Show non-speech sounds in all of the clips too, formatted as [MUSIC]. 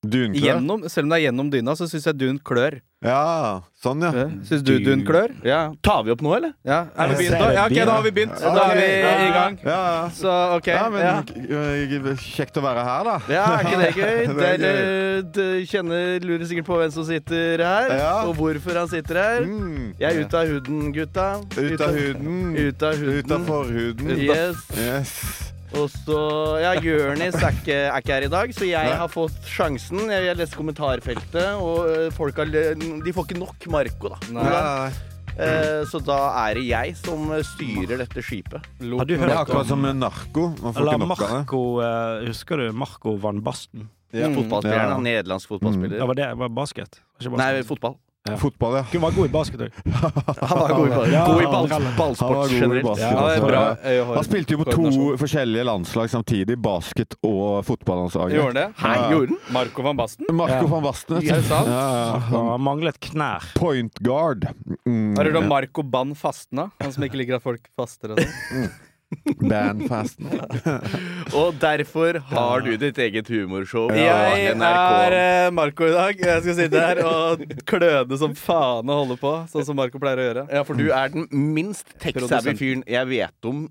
Dunklø? Gjennom, selv om det er gjennom dyna, så syns jeg dun klør. Ja, sånn, ja. Syns du dun klør? Ja. Tar vi opp nå, eller? ja. Er vi begynt, da? Ja, ok, da har vi begynt. Så da er vi i gang. Ja, ja. Så OK. ja men Ja. k- kjekt å være her, da. Ja, er ikke det gøy? [LAUGHS] Det er Dere eh, kjenner, lurer sikkert på hvem som sitter her, Ja. og hvorfor han sitter her. Mm. Jeg er ute av huden, gutta. Ut av huden. Ut av huden. Ut av forhuden. Yes. Yes. Og så Ja, Jørnis er ikke, er ikke her i dag, så jeg Nei. har fått sjansen. Jeg, jeg leste kommentarfeltet, og eh, folk har, l- de får ikke nok Marco, da. Nei, Ja. nei, nei. Eh, Så da er det jeg som styrer dette skipet. Har du Det er hørt akkurat om som med narko. Man får eller ikke nok av det. Marco, eh, husker du Marco van Basten? Ja. Fotballspilleren, Ja. han nederlandsk fotballspiller. Det var det, det var basket. Det var ikke Nei, basket. fotball. Fotball, ja. Hun var god i basket òg. Han var god i, ball, Ja, god i han- ball, Han var ballsport god i generelt. basket, Ja, det er altså. bra. Eh, Han spilte jo på to forskjellige landslag samtidig. Basket- og fotballandslaget. Gjorde han det? Hei, gjorde han? Marco van Basten? Marco Ja. van Basten. Er det sant? Han manglet knær. Point guard. Mm. Har du hørt om Marco Bann Fastna? Han som ikke liker at folk faster og sånn. Band [LAUGHS] fasten. Og derfor har du ditt eget humorshow. Jeg på er NRK. eh, Marco i dag. Jeg skal sitte her og kløne som faen og holde på, sånn som Marco pleier å gjøre. Ja, for du er den minst tech-savvy Produsent. fyren jeg vet om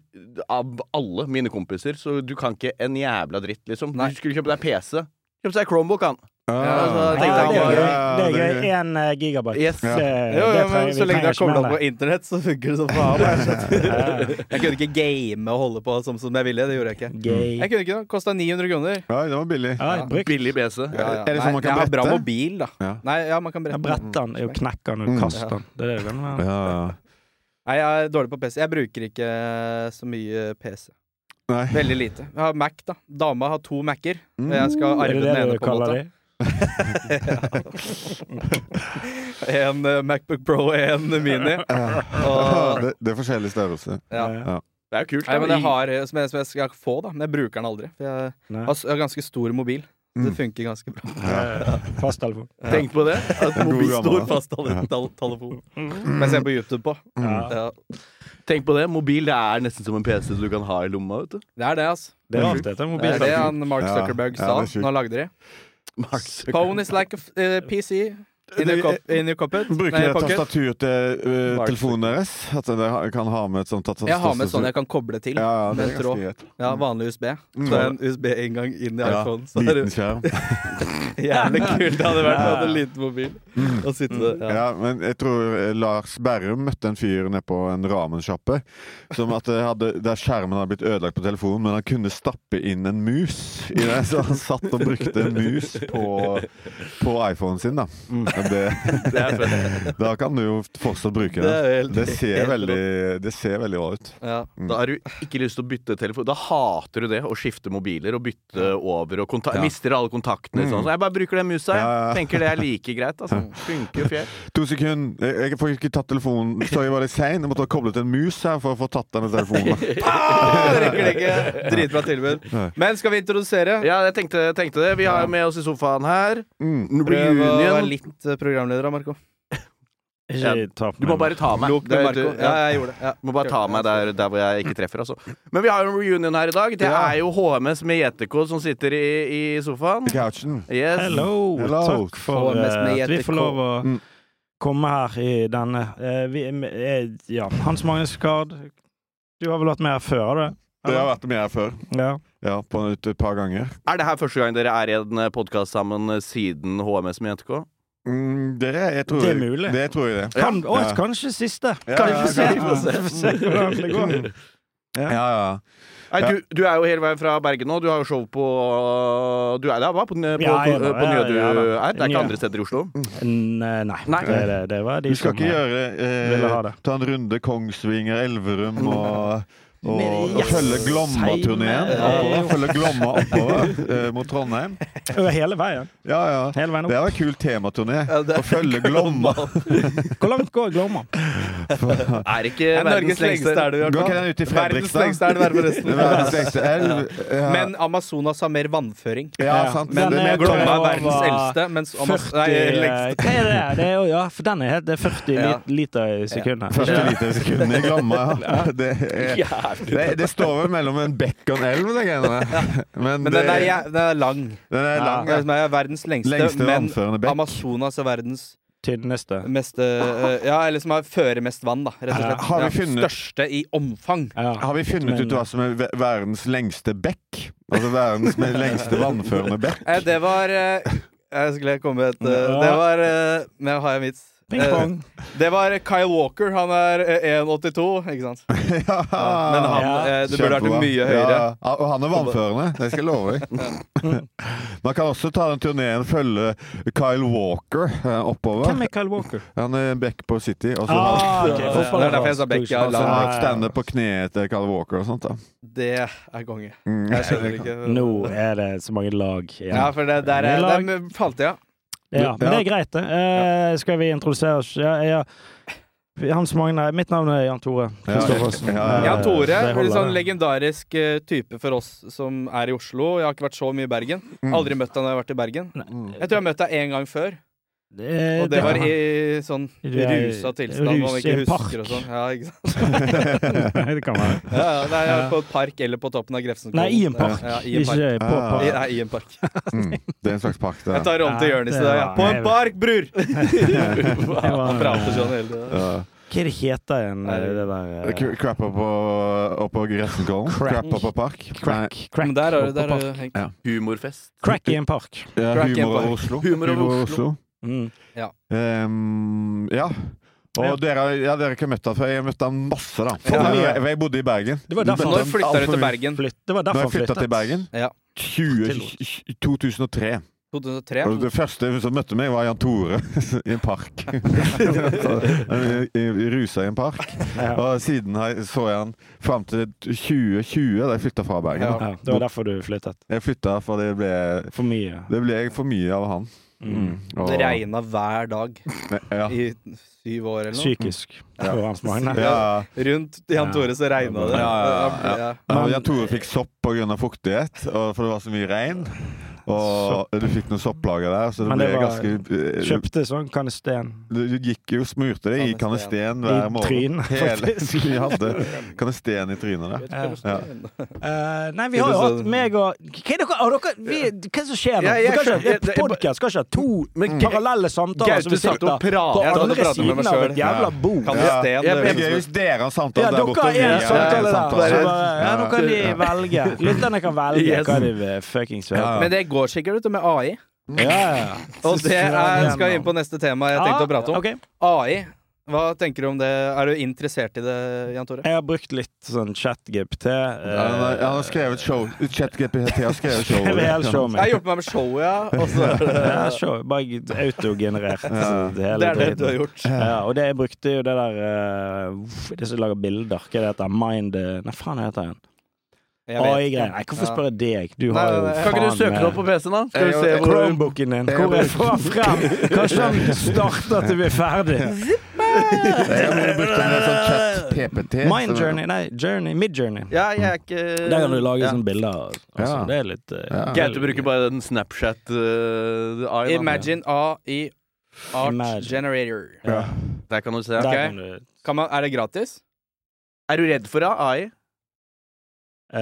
av alle mine kompiser. Så du kan ikke en jævla dritt, liksom. Du skulle kjøpe deg PC. Kjøpte seg Chromebook, han. Ah. altså, Det tenkte jeg er ikke. gøy. Ja, Det er det er gøy. Én gigabyte. Yes. Det- Eh, Jo, det jo, trenger- men vi så lenge du trenger har ikke mer kobla enn på det. internett, så funker det som [LAUGHS] faen. Ja, ja. Jeg kunne ikke game og holde på sånn som jeg ville. Det gjorde jeg ikke. Gøy. Mm. Jeg kunne ikke noe. Kosta 900 kroner. Ja, det var billig. Ja, brukt. Billig PC. Er liksom det sånn man kan Nei, jeg har bra brette? mobil, da. Ja. Nei, ja, man kan brette. Brett den, jo, knekk den og Mm. kast den. Det er det du kan Ja, være. ja. Nei, jeg er dårlig på PC. Jeg bruker ikke eh, så mye PC. Nei. Veldig lite. Jeg har Mac, da. Dama har to Mac-er. Og Mm. jeg skal Er arve det den det du ene, på en kaller måte. de? En eh, Macbook Pro og en Mini. [LAUGHS] Og, Det, det er forskjellig størrelse. ja. Det er jo kult. Nei, da. men jeg har, eh, som jeg, som jeg skal få, da. Men jeg bruker den aldri. For jeg Nei. har, s- jeg har ganske stor mobil. Så Mm. det funker ganske bra. Ja. Fasttelefon. Tenk [LAUGHS] på det. At En god mobil gammel, står da. fast alle- tal- telefon. Som Mm. jeg ser på YouTube på. Ja. Ja. Tenk på det. Mobil det er nesten som en PC du kan ha i lomma. vet du Det er det, altså. Det er rart, dette. Det er det Mobiltelefon. han Mark Ja. Zuckerberg Ja, sa det er sjukt. når han lagde de. Mark Zuckerberg. Phone is like a f- eh, PC in your, cop in your pocket. Bruker Nei, dere pocket. tastatur til eh, Mark- telefonen deres? At dere ha- kan ha med et sånt tastatur? Jeg har med sånn jeg kan koble til. ja, ja, det med er tråd. ganske greit. Ja, vanlig USB. Så Mm. det er en USB-inngang inn i Ja, iPhone. Så er det Liten [LAUGHS] skjerm. jævlig kult det hadde vært å ha Ja. en liten mobil. [LAUGHS] Og sitte der. Ja. Ja, men jeg tror eh, Lars Berrum møtte en fyr nede på en ramensjappe. Som at det hadde, der skjermen hadde blitt ødelagt på telefonen, men han kunne stappe inn en mus i det. Så han satt og brukte en mus på, på iPhonen sin, da. Mm. Det, [LAUGHS] Det er fett. da kan du jo fortsatt bruke Det det. er jo helt Det ser veldig, det ser veldig bra ut. ja. Da har du ikke lyst til å bytte telefon. Da hater du det å skifte mobiler og bytte over og konta- Ja. Mm. mister alle kontaktene. Sånn. Så jeg bare bruker den musa. Ja, ja, jeg ja. Tenker det er like greit. Altså. Funker jo fjell. To sekunder. Jeg, jeg får ikke tatt telefonen. Sorry, jeg var litt sein. Jeg måtte ha koblet en mus her for å få tatt denne telefonen. Ah, det rekker det ikke. Dritbra tilbud. Men skal vi introdusere? Ja, jeg tenkte, tenkte det. Vi har med oss i sofaen her Mm. Nå blir Prøv å være Union. litt eh, programleder da, Marco. Ikke ta på Du må meg. bare ta meg. Klok med Du- Marco. du- Ja, jeg gjorde det. Ja. Du må bare ta meg der, der hvor jeg ikke treffer, altså. Men vi har jo en reunion her i dag. Det Ja. er jo HMS med JTK som sitter i, i sofaen. I Couchen. Yes. Hello. Mm. Hello. Takk for HMS eh, med at vi JTK. får lov å Mm. komme her i denne. Eh, vi, eh, ja, Hans Magnus Gard, du har vel vært med her før, har du? Det har vært med her før. Ja. Ja, på en, et par ganger. Er det her første gang dere er i en podkast sammen siden HMS med JTK? Mm, det, jeg tror, Det er mulig. Det tror jeg det. Kan, å, Ja. Kanskje siste. Ja, kanskje ja, se. ja. Vi Mm. får se, vi får se hvordan det går. Ja, ja. Nei, Ja. du, du er jo hele veien fra Bergen nå. Du har jo show på Du er der, hva? På, på, på, Ja, jeg er der, på, jeg Njø er du der. er? Det er ikke Njø. andre steder i Oslo? Nei, eh, nei. Nei. Det, det, det var de Vi skal som, ikke eh, gjøre ville ha eh, det. Ta en runde Kongsvinger, Elverum [LAUGHS] og og, og Yes. følge Glomma-turneen Seime. oppover. Følge Glomma oppover eh, mot Trondheim. Over hele veien. Ja, ja. Hele veien Det opp. var en kul tematurné. Ja, det- Å følge Glomma. Hvor langt går Glomma? For- Er ikke Det er verdens Norges lengste lengste elv. i hvert Går fall. ikke den ut i Verdens Fredrikstad? lengste elv er forresten. Verdens lengste elv. Ja. Men Amazonas har mer vannføring. ja, sant. Men Men det jeg er tror Glomma er over verdens eldste, mens 40 Amazonas Nei, eh, lengste. Hva er det? det er, jo- ja, for den er helt Det er 40 Ja. lit- liter i sekundet. Første lite sekund i Glomma, ja. Det, er, det, det står vel mellom en bekk og en elv, det greiene der. Men, Men det, den er, ja, den er lang. den er lang. Den Ja. er- Den er verdens lengste, Lengste men vannførende bekk. Amazonas er verdens Tynneste. meste eh, Ja, eller som har fører mest vann, da, rett og Ja. slett. Har vi Ja, funnet- Største i omfang. Ja. Har vi funnet ut hva som er ve- verdens lengste bekk? Altså verdens me- lengste vannførende bekk? Eh, Det var eh, Jeg skulle komme med et eh, Ja. Det var eh, Men jeg har en vits. Ping Eh, pong. Det var Kyle Walker. Han er eh, 1,82, ikke sant? [LAUGHS] Ja. Men han, Ja. eh, det burde vært Ah. Kjempebra. mye høyere. Ja, og han er vannførende, det skal jeg love deg. [LAUGHS] Man kan også ta den turneen følge Kyle Walker eh, oppover. Hvem er Kyle Walker? Han er back på City. Og så har Ah, ok, Det er fotball- derfor jeg sa Beck, ja, han så la- har han standup på kneet til Kyle Walker og sånt. da. Det er konge. Mm, Jeg skjønner ikke Nå er det så mange lag igjen. Ja, for det der er Lag. Dem falt jeg av. Ja, men Ja. det er greit, det. Eh, skal vi introdusere oss? Ja, ja. Hans Magne, mitt navn er Jan Tore. Ja. Kristoffersen. Ja, ja, ja. Jan Tore Eh, det er holder, en sånn det. legendarisk eh, type for oss som er i Oslo. Jeg har ikke vært så mye i Bergen. Aldri møtt han når jeg har vært i Bergen. Mm. Jeg tror jeg har møtt deg én gang før, Eh, og det var ja. i sånn Du er i- rusa tilstand. rus man i ikke en park. husker og sånn. Ja, ikke sant? det kan være. Ja, ja, det er Ja. på et park eller på toppen av Grefsenkollen. Nei, i en park. Ja, i en park. Ikke på Ah. I, park. nei, i en park. Mm. Det er en slags pakk, Jeg det. tar om til Ja, Jonis i det dag. Ja. var- På en [LAUGHS] park, bror! [LAUGHS] Han var- prater sånn hele tiden. Ja. Hva er det heter igjen, eh, det K- der eh, Crap oppå, oppå Gressenkollen. Crack. Crap oppå park. Crack. Crack, Men der har du- oppå der har park. du Henk. humorfest. crack i en park. Nei, ja, Crack humor oppå- over Oslo. Humor over Oslo. Mm. Ehm, ja. Og Ja. dere ja, dere har ikke møtt ham før. Jeg møtte ham masse, da. For Ja. jeg, jeg bodde i Bergen. Det var Du derfor møtte han- Når ham flytta alt du for til mye. Bergen? Flytt. Det var Når derfor jeg flytta til Bergen? Ja. 20, 2003. 2003? Og det første som møtte meg, var Jan Tore [LAUGHS] i en [LAUGHS] park. Så, i- i- Rusa i en park. Ja. Og siden har jeg- så jeg han fram til 2020, da jeg flytta fra Bergen. Ja. da. Ja, det var derfor du flyttet. Jeg flytta for det ble, For mye. det ble for mye av han. Mm. Og- Det regna hver dag Ja. i syv år eller noe. Psykisk. For Hans Magne. Ja. Rundt Jan Tore så regna Ja, det. ja, ja. Ja. Ja, Men- Jan Tore fikk sopp pga. fuktighet, og for det var så mye regn. Og du fikk noen sopplager der, så det, Men det ble var- ganske Kjøpte sånn kanesten. du, du gikk jo og smurte det i kanesten I hver morgen. trynet, Hele faktisk. [LAUGHS] Vi hadde kanesten i trynet der. Ja. Ja. sånn. Eh, nei, vi har jo hatt meg og Hva er dere, har dere vi, Hva er det som skjer nå? Jeg- jeg Dere kan skjønner- ikke- Podcast skal ikke ha to Men- parallelle samtaler som Mm. Gaute vi satt sitter og pratet. på Jeg satt og andre pratet med meg siden av et selv. jævla bord. Kan Ja. vi Jeg Det er stede? gøy hvis dere har samtale Ja, der dere borte. og har vi en har en samtale der. samtale. Så Bare- bare, ja, nå kan de Ja. velge. Lytterne kan velge Yes. hva de vil fuckings gjøre. Ja, Men det går sikkert utover med AI. Ja, ja. Og det er, skal inn på neste tema jeg tenkte å prate om. Ah, ok. AI. Hva tenker du om det? Er du interessert i det, Jan Tore? Jeg har brukt litt sånn chat-GPT. eh, Ja, han har- [LAUGHS] han har skrevet show. ChatGPT har skrevet show. Hele showet Jeg har mitt. hjulpet meg med [LAUGHS] showet, ja. Og så Ja, show, bare autogenerert. sånn, Ja. Det, hele det er det dritten. du har gjort. Ja, og det jeg brukte jo det der eh, uff, Det som lager bilder, hva er det heter Mind eh, Nei, faen hva heter den? Jeg vet ikke. AI-greier. Nei, hvorfor Ja. spørre deg? Du Nei, har jo nei, nei. faen Kan ikke du søke meg- det opp på PC-en, da? Skal vi Jeg- se jeg- hvor Chromebooken din. Hvor er fra frem? Kanskje den starter til vi er ferdig? Jeg har brukt en del sånn chat-PPT. Mind Journey, nei, Journey, Mid Journey. Ja, jeg er ikke Der kan du lage Ja. sånne bilder. og- Altså, Ja. Det er litt eh, Ja. Gaute bruker bare den eh, Snapchat-eye. Imagine AI Art Imagine. Generator. ja. Der kan du se. Der Ok. kan du Kan man, er det gratis? Er du redd for AI? eh,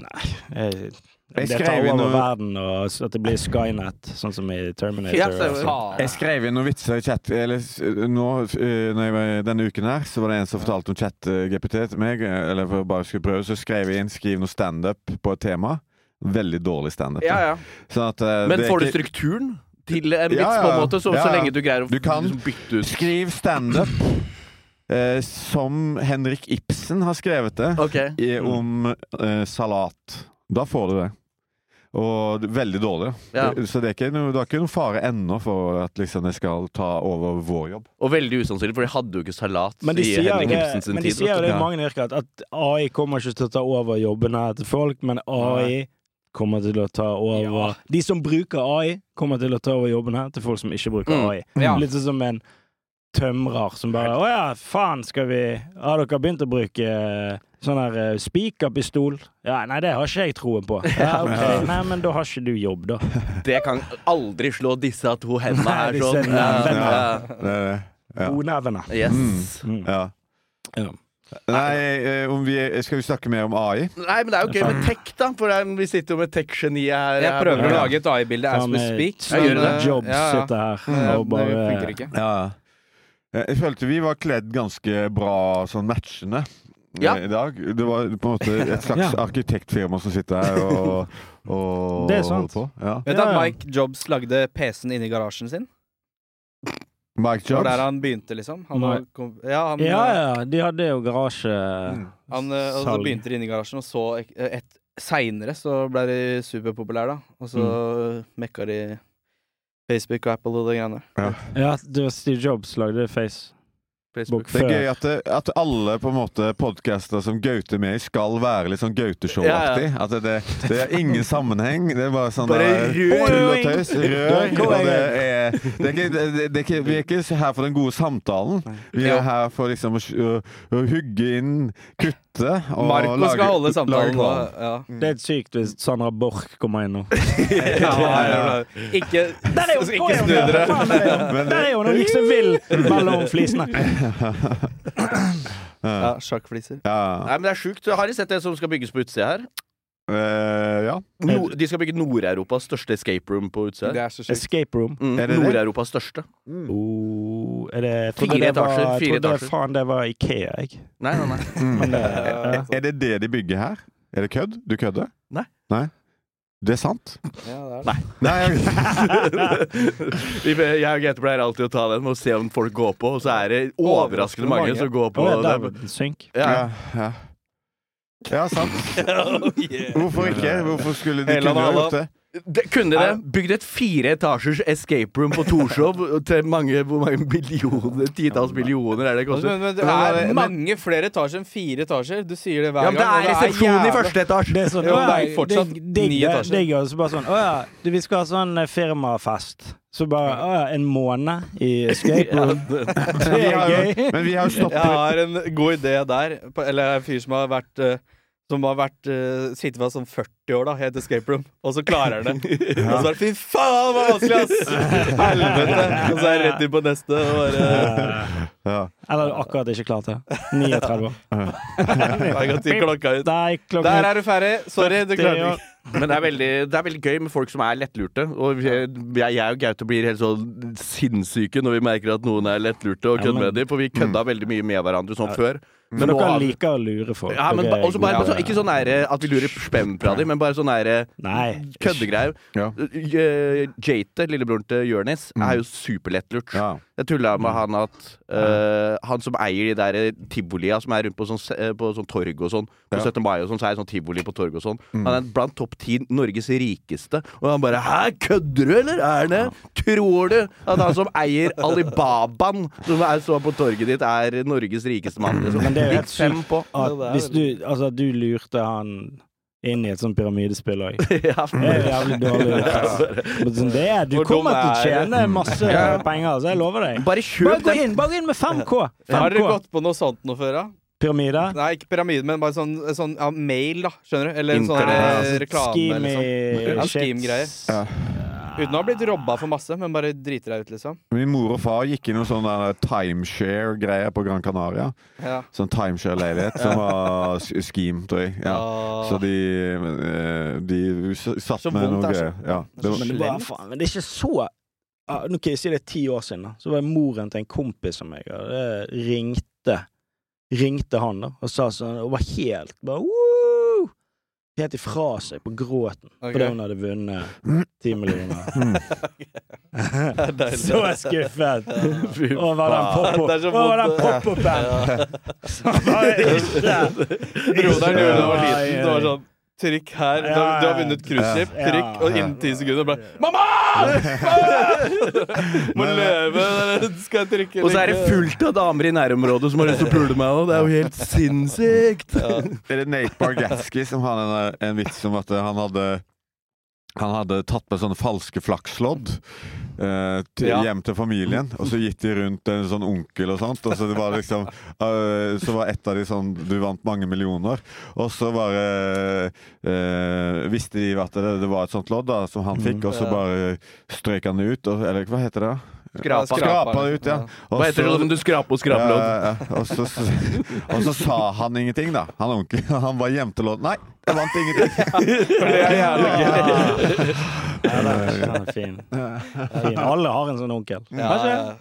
Nei. Jeg, Jeg det skrev tar inn over noe- verden, og s- at det blir Skynet, sånn som i Terminator. Ja, altså. faen. Jeg skrev inn noen vitser i chat eller, s- nå, eh, når jeg var, Denne uken her Så var det en som fortalte om chat-GPT til meg. eh, Eller for bare skulle prøve Så skrev jeg inn skriv noe standup på et tema. Veldig dårlig standup. Ja, da. ja. Sånn at, eh, Men det er får du ikke- strukturen til en vits, Ja, ja. på en måte? Så, Ja, så ja. lenge du greier å Du kan liksom bytte ut Skriv standup [CLEARS THROAT] eh, som Henrik Ibsen har skrevet det, Ok. i, om eh, salat. Da får du det. Og det- veldig dårlig. Ja. Det- Så det er ikke noe, det er ikke noe fare ennå for at liksom, jeg skal ta over vår jobb. Og veldig usannsynlig, for de hadde jo ikke salat Men de i sier jo Henrik det, Ibsen sin men de tid. sier jo vet du. det i Ja. mange yrker at, at AI kommer ikke til å ta over jobbene til folk, men AI kommer til å ta over De som bruker AI, kommer til å ta over jobbene til folk som ikke bruker Mm. AI. Ja. Litt sånn som en tømrer som bare Å ja, faen, skal vi Har dere begynt å bruke eh, sånn her eh, spikerpistol? Ja, nei, det har ikke jeg troen på. Ja, ok. Nei, men da har ikke du jobb, da. Det kan aldri slå disse to hendene Nei, her disse sånn. nevene. Ja, ja. Det er det. Ja. Onevene. Yes. Mm. Ja. Ja. Nei, eh, om vi, skal vi snakke mer om AI? Nei, men det er jo gøy med tech, da. For det er- vi sitter jo med tech-geniet her. Jeg prøver å Ja. lage et AI-bilde as Faen, we eh, speak. Steve men, eh, Jobs ja, ja. sitter her Eh, og Det bare funker ikke. Ja, ja. Eh, Jeg følte vi var kledd ganske bra sånn matchende eh, Ja. i dag. Det var på en måte et [LAUGHS] slags Ja. arkitektfirma som sitter her og, [LAUGHS] og Det er sant. holder på. Ja. Vet du Ja, at ja. Mike Jobs lagde PC-en inni garasjen sin? Mike Det var der Jobs. han begynte, liksom. Han, Nei. var- kom, ja, han, eh, Ja, ja, de hadde jo garasje... Mm. han eh, og så Salg. begynte det inni garasjen, og så ek- eh, et, seinere så ble de superpopulære, da. Og så mekka de Facebook og Apple og de greiene der. Ja, det var Steve Jobs lagde Facebook Facebook. Det før. er gøy at, det, at alle på en måte podcaster som Gaute er med i, skal være litt sånn Gaute-show-aktig. At det, det, det er ingen sammenheng. Det er bare sånn Bare der rør. tull og tøys. Rør. Kom Og det igjen. er, det er ikke, det, det er ikke, vi er ikke her for den gode samtalen. Vi Jo. er her for liksom å, å- å hugge inn, kutte og Marco skal holde samtalen nå. kvalm. Ja. Det er sykt hvis Sandra Borch kommer [LAUGHS] inn nå. Ja, Ikke, Der er hun! ikke snu dere. Der er hun! Hun gikk så vill mellom [LAUGHS] flisene. Ja, sjakkfliser. [LAUGHS] Ja. Nei, men det er sjukt. Har dere sett det som skal bygges på utsida her? Eh, ja. No, de skal bygge Nord-Europas største escape room på utsida. Det her. er så sjukt. Escape room. Mm, Er det det? Nord-Europas største. Mm. Oh, er det, jeg trodde Fire det var- etasjer, jeg fire trodde etasjer. Faen, det var Ikea, jeg. Nei, nei, nei. Men det, ja. Er det det de bygger her? Er det kødd? Du kødder? Nei. Nei? Det er sant? Ja, det er det. Nei, [LAUGHS] Vi- Jeg og Gaute pleier alltid å ta den med å se om folk går på, og så er det overraskende mange som går på. Å, ja, det. der, synk. Ja. Ja, ja. ja sant. Hvorfor ikke? Hvorfor skulle de Hele kunne ha Dala. gjort det? Det, kunne dere bygd et fire etasjers escape room på Torshov til mange, hvor mange millioner, titalls millioner er det det koster? Men, men det Men det er er- mange flere etasjer enn fire etasjer. Du sier det hver Ja, men det gang. og er resepsjonen i jævla- første etasje! Det er sånn, Jo, å, ja, det er fortsatt digg- digg- ni det- etasjer. digg, og så bare sånn Å ja, du, vi skal ha sånn eh, firmafest. Så bare Å ja, en måned i [LAUGHS] escape room. Det Vi er har jo, gøy. men vi har jo Jeg stoppet har en god idé der. på- Eller en fyr som har vært eh, som har vært uh, sittet fast sånn 40 år da i et escape room, og så klarer han det. [LAUGHS] Og så er det 'fy faen, hva vanskelig, [LAUGHS] ass!' Helvete! Og så er jeg rett inn på neste. Og bare, ja. Eller akkurat ikke klart det. 39 år. jeg kan si klokka [LAUGHS] ut. Nei, klokken Der er du ferdig. Sorry, du klarte det ikke. Men det er, veldig, det er veldig gøy med folk som er lettlurte. Og jeg, jeg og Gaute blir helt sånn sinnssyke når vi merker at noen er lettlurte og Ja, kødder men- Mm. med dem, for vi kødda veldig mye med hverandre sånn før. Men nå dere har- liker å lure folk. ja, men Dere ba- er også bare, gode. bare sånn- ikke sånn nære at vi lurer spem fra dem, men bare sånn nære Nei. køddegreier. Ja. Mm. Eh, Jate, lillebroren til Jonis, er jo superlettlurt. Ja. Mm. Jeg tulla med han at eh, Han som eier de der eh, tivolia som er rundt på sånn, se- eh, på sånn torg og sånn, på Ja. Mm. 17. mai og sånn, så er det sånn tivoli på torg og sånn. Han er blant topp ti Norges rikeste, og han bare Hæ, kødder du, eller? Er det? Tror du at han som eier Alibabaen, som er så på torget ditt, er Norges rikeste Mm. mann? Liksom. Men det er jo Gikk helt sykt. fem [LAUGHS] på. At hvis du, altså, at du lurte han inn i et sånt pyramidespill òg. [LAUGHS] Ja. Det er jævlig dårlig gjort. ass. Men sånn, Det er, du Hvor dum kommer til å er jeg? tjene masse penger, så jeg lover deg. [LAUGHS] Bare Bare gå kjøp den! inn, bare gå inn med 5K! Har dere 5K. gått på noe sånt noe før, da? Pyramide. [LAUGHS] Nei, ikke pyramide, men bare sånn, sånn ja, mail, da. Skjønner du? Eller en sånn Internet. eh, reklame. Scheme Liksom. i- Ja, shit. scheme-greier. Ja. Uten å ha blitt robba for masse, men bare driter deg ut, liksom. Min mor og far gikk i noen sånn der timeshare-greier på Gran Canaria. Ja. Sånn timeshare-leilighet som var s- scheme, tror jeg. Ja. Ah, Så de, eh, de s- satt Så med noe vondt, altså. greier. Ja. Det var, Men det, var, faen, men det er ikke så Ah, Nå kan jeg si det er ti år siden, da. Så var moren til en kompis av meg, og det ringte Ringte han, da, og sa sånn Og var helt bare Woo! Helt ifra seg på gråten Ok. fordi [LAUGHS] hun hadde vunnet ti millioner. så Mm. [LAUGHS] deilig. skuffet Fy over den faen. pop-up- Det er så over den vondt, det. pop-up-en! [LAUGHS] Som bare ikke Broderen gjorde det da jeg var liten. Ai, Det var ai. sånn Trykk her. Du Ja, har, du har ja. vunnet cruiseskip. Ja. Trykk, og innen ti sekunder bare [LAUGHS] Mamma! Må løpe! Skal jeg trykke? eller Og så er det ikke? fullt av damer i nærområdet som har lyst til å pule meg òg. Det er [LAUGHS] jo helt sinnssykt. eh, Er det Nate Bargatze som hadde en, en vits om at han hadde Han hadde tatt med sånne falske flakslodd eh, til, Ja. hjem til familien. Og så gitt de rundt til en sånn onkel og sånt. Og så det var liksom eh, Så var ett av de sånn Du vant mange millioner. Og så bare eh, visste de at det, det var et sånt lodd da som han Mm. fikk, og så bare strøyk han det ut. Og, eller hva heter det? da? Skrapa. Skrapa det ut, ja. Og Hva heter det så- når du skraper og skraper lodd? ja, ja, ja. Og, så, og så sa han ingenting, da. Han onkel. [LAUGHS] Han bare gjemte låten. Nei, jeg vant ingenting. Det er jævlig gøy. Ja, den er- den er fin. fin. Alle har en sånn onkel. Ja,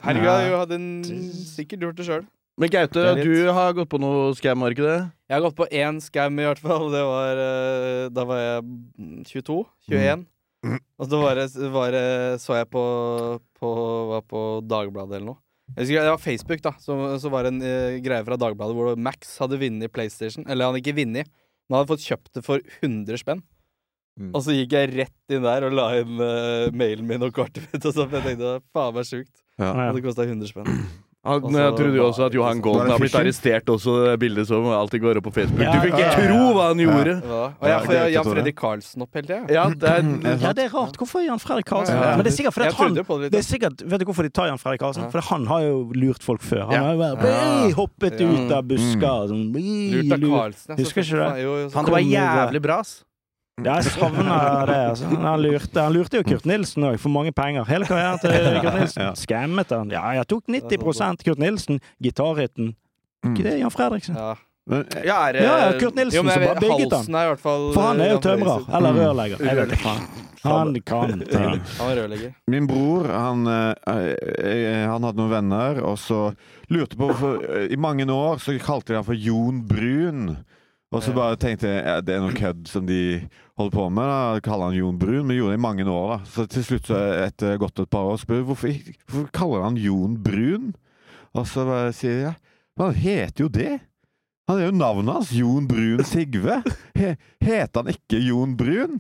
herregud, jeg hadde en- sikkert gjort det sjøl. Men Gaute, Det er litt- du har gått på noe scam, har du ikke det? Jeg har gått på én scam i hvert fall. Det var eh, Da var jeg 22. 21. Mm. Og så var det, var det, så jeg på, på, var på Dagbladet eller noe. Jeg husker, det var Facebook, da. Så, så var det en eh, greie fra Dagbladet hvor Max hadde vunnet PlayStation. Eller han hadde ikke vunnet, men han hadde fått kjøpt det for 100 spenn. Mm. Og så gikk jeg rett inn der og la inn eh, mailen min og kortet mitt. Og så for jeg tenkte faen meg sjukt. Ja. Og det kosta 100 spenn. Han, Altså, jeg trodde jo også at bare- Johan Var Golden det har blitt fishen? arrestert også, det bildet som alltid går opp på Facebook. Ja, Du fikk ja, ikke ja, ja. tro hva han gjorde! Ja. Og Ja, jeg, for jeg, greit, jeg Tore. Freddy Karlsen opp hele tida. Ja, det er, sånn. Ja, det er rart. Hvorfor Jan Fredrik Karlsen? Ja, ja. Men det er sikkert fordi Jeg at han trodde jo på det litt. det er sikkert, Vet du hvorfor de tar Jan Fredrik Karlsen? Ja. For han har jo lurt folk før. Han Ja. har jo bare «Bli!» hoppet Ja. Mm. ut av busker. Sånn, «Bli!» Lurt av lurt. Karlsen. altså, Husker ikke det? sånn- han Kom var med jævlig bra, ass. Ja, jeg savner det. Altså. Men Han, lurte, han lurte jo Kurt Nilsen òg, for mange penger. Hele karrieren [LAUGHS] til Kurt Ja. Nilsen. Skammet han. Ja, jeg tok 90 Kurt Nilsen. Gitarhytten. Ikke det, Jan Fredriksen? Mm. Ja. Men, eh, Ja, er, Ja, ja, Kurt Nilsen Jo, som men jeg bare vet, bygget han. Halsen er i hvert fall eh, For han er jo Jan altså. Fredriksen. Mm. tømrer. Eller rørlegger. Jeg vet Rørlegger. ikke faen. Han [LAUGHS] kan ting. Han er rørlegger. Min bror han, eh, eh, han hadde noen venner, og så lurte på hvorfor eh, I mange år så kalte de han for Jon Brun. Og så bare tenkte jeg ja, det er noe kødd som de holder på med. da kaller han Jon Brun, men gjorde det i mange år. da Så til slutt, så etter gått et par år, spør jeg hvorfor, hvorfor kaller han Jon Brun. Og så bare sier jeg ja, men han heter jo det. Han er jo navnet hans, Jon Brun Sigve. He, heter han ikke Jon Brun?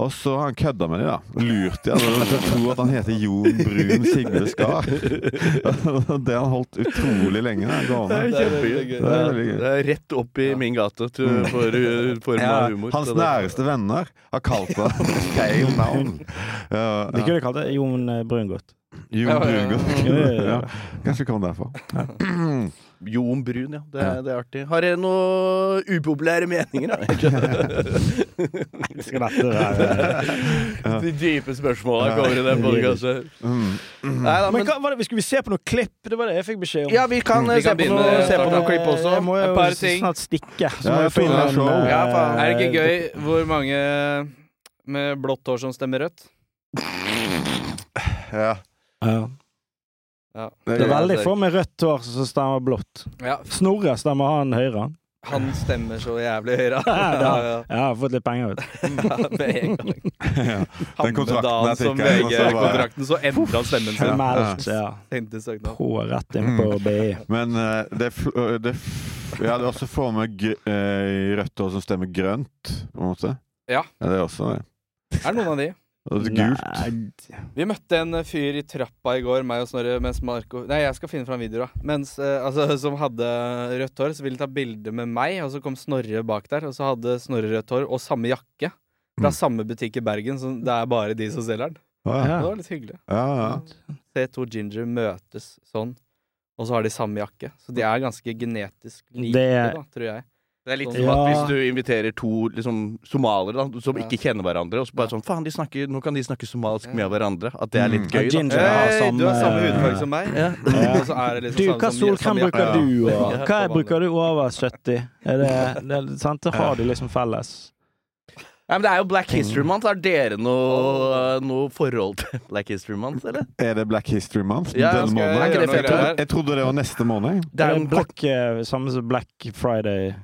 Og så har han kødda med dem, da. Lurt dem til å tro at han heter Jon Brun Sigve Skar. Og Det har han holdt utrolig lenge. da, gående. Det er veldig gøy. Det er veldig gøy. Det er rett opp i min gate til, for uh, form Ja, av humor. hans så det- næreste venner har kalt ham feil navn. Ja, De ja. kunne kalt det Jon Brungot. Jon Ja, ja, Brungot. ja, ja. Ja, kanskje det kom derfor. Jon Brun, ja. Det er, det er artig. Har dere noen upopulære meninger, [LAUGHS] da? Skal dette være De dype spørsmåla kommer i den podkasten. Mm. Nei da, Men men hva var det vi skulle vi se på noe klipp? Det var det jeg fikk beskjed om. Ja, vi kan, eh, Vi kan se, på begynne noe, se på snart, noe da. klipp også. Jeg må Et jo par ting. snart stikke. Så Ja, må jeg jeg finne finner en, show. eh, Ja, faen. Er det ikke gøy hvor mange med blått hår som stemmer rødt? Ja. Ja. Ja. Det er veldig få med rødt hår som stemmer blått. ja. Snorre stemmer han høyre. Han stemmer så jævlig høyre. [LAUGHS] Ja, Jeg har fått litt penger, vet du. Med en gang. Den kontrakten Hammedagen jeg som fikk, altså, var- VG-kontrakten, så endra han stemmen sin. Meldt, ja. Tenkte søknad. På rett inn på Mm. BI. Men eh, det, fl øh, det f Jeg hadde også få med gr eh, rødt hår som stemmer grønt, på en måte. Ja. det er også det. Er det noen av de? Og det er gult. Nei, Vi møtte en eh, fyr i trappa i går, meg og Snorre, mens Marco Nei, jeg skal finne fram videoer, da. Mens, eh, altså, [LAUGHS] som hadde rødt hår, så ville de ta bilde med meg, og så kom Snorre bak der, og så hadde Snorre rødt hår og samme jakke. Fra Mm. samme butikk i Bergen, så det er bare de som selger den. Å, ja. Ja. Det var litt hyggelig. Ja, ja. Se to ginger møtes sånn, og så har de samme jakke. Så de er ganske genetisk like, Det er- da, tror jeg. Sånn Det er litt Ja. som at hvis du inviterer to liksom, somaliere da, som Ja. ikke kjenner hverandre, og så bare sånn Faen, de snakker, nå kan de snakke somalisk med hverandre. At det er Mm. litt gøy. Da. Ginger har eh, Hei, samme du har samme hudfarge som meg. Ja. sånn, eh, Ja. [LAUGHS] Og så er sånn det liksom Du, samme hva som- solkrem samme bruker jakke. du? Ja. og- Hva bruker du over 70? Er [LAUGHS] det, det er sant? Det har de liksom felles. Nei, men det er jo Black History Month. Har dere noe, eh, noe forhold til Black History Month, eller? Er det Black History Month Ja, denne skal jeg- måneden? er ikke Jeg, det fett, trodde- eller? jeg trodde det var neste måned. Det er jo en kort black, eh, samme som Black Friday.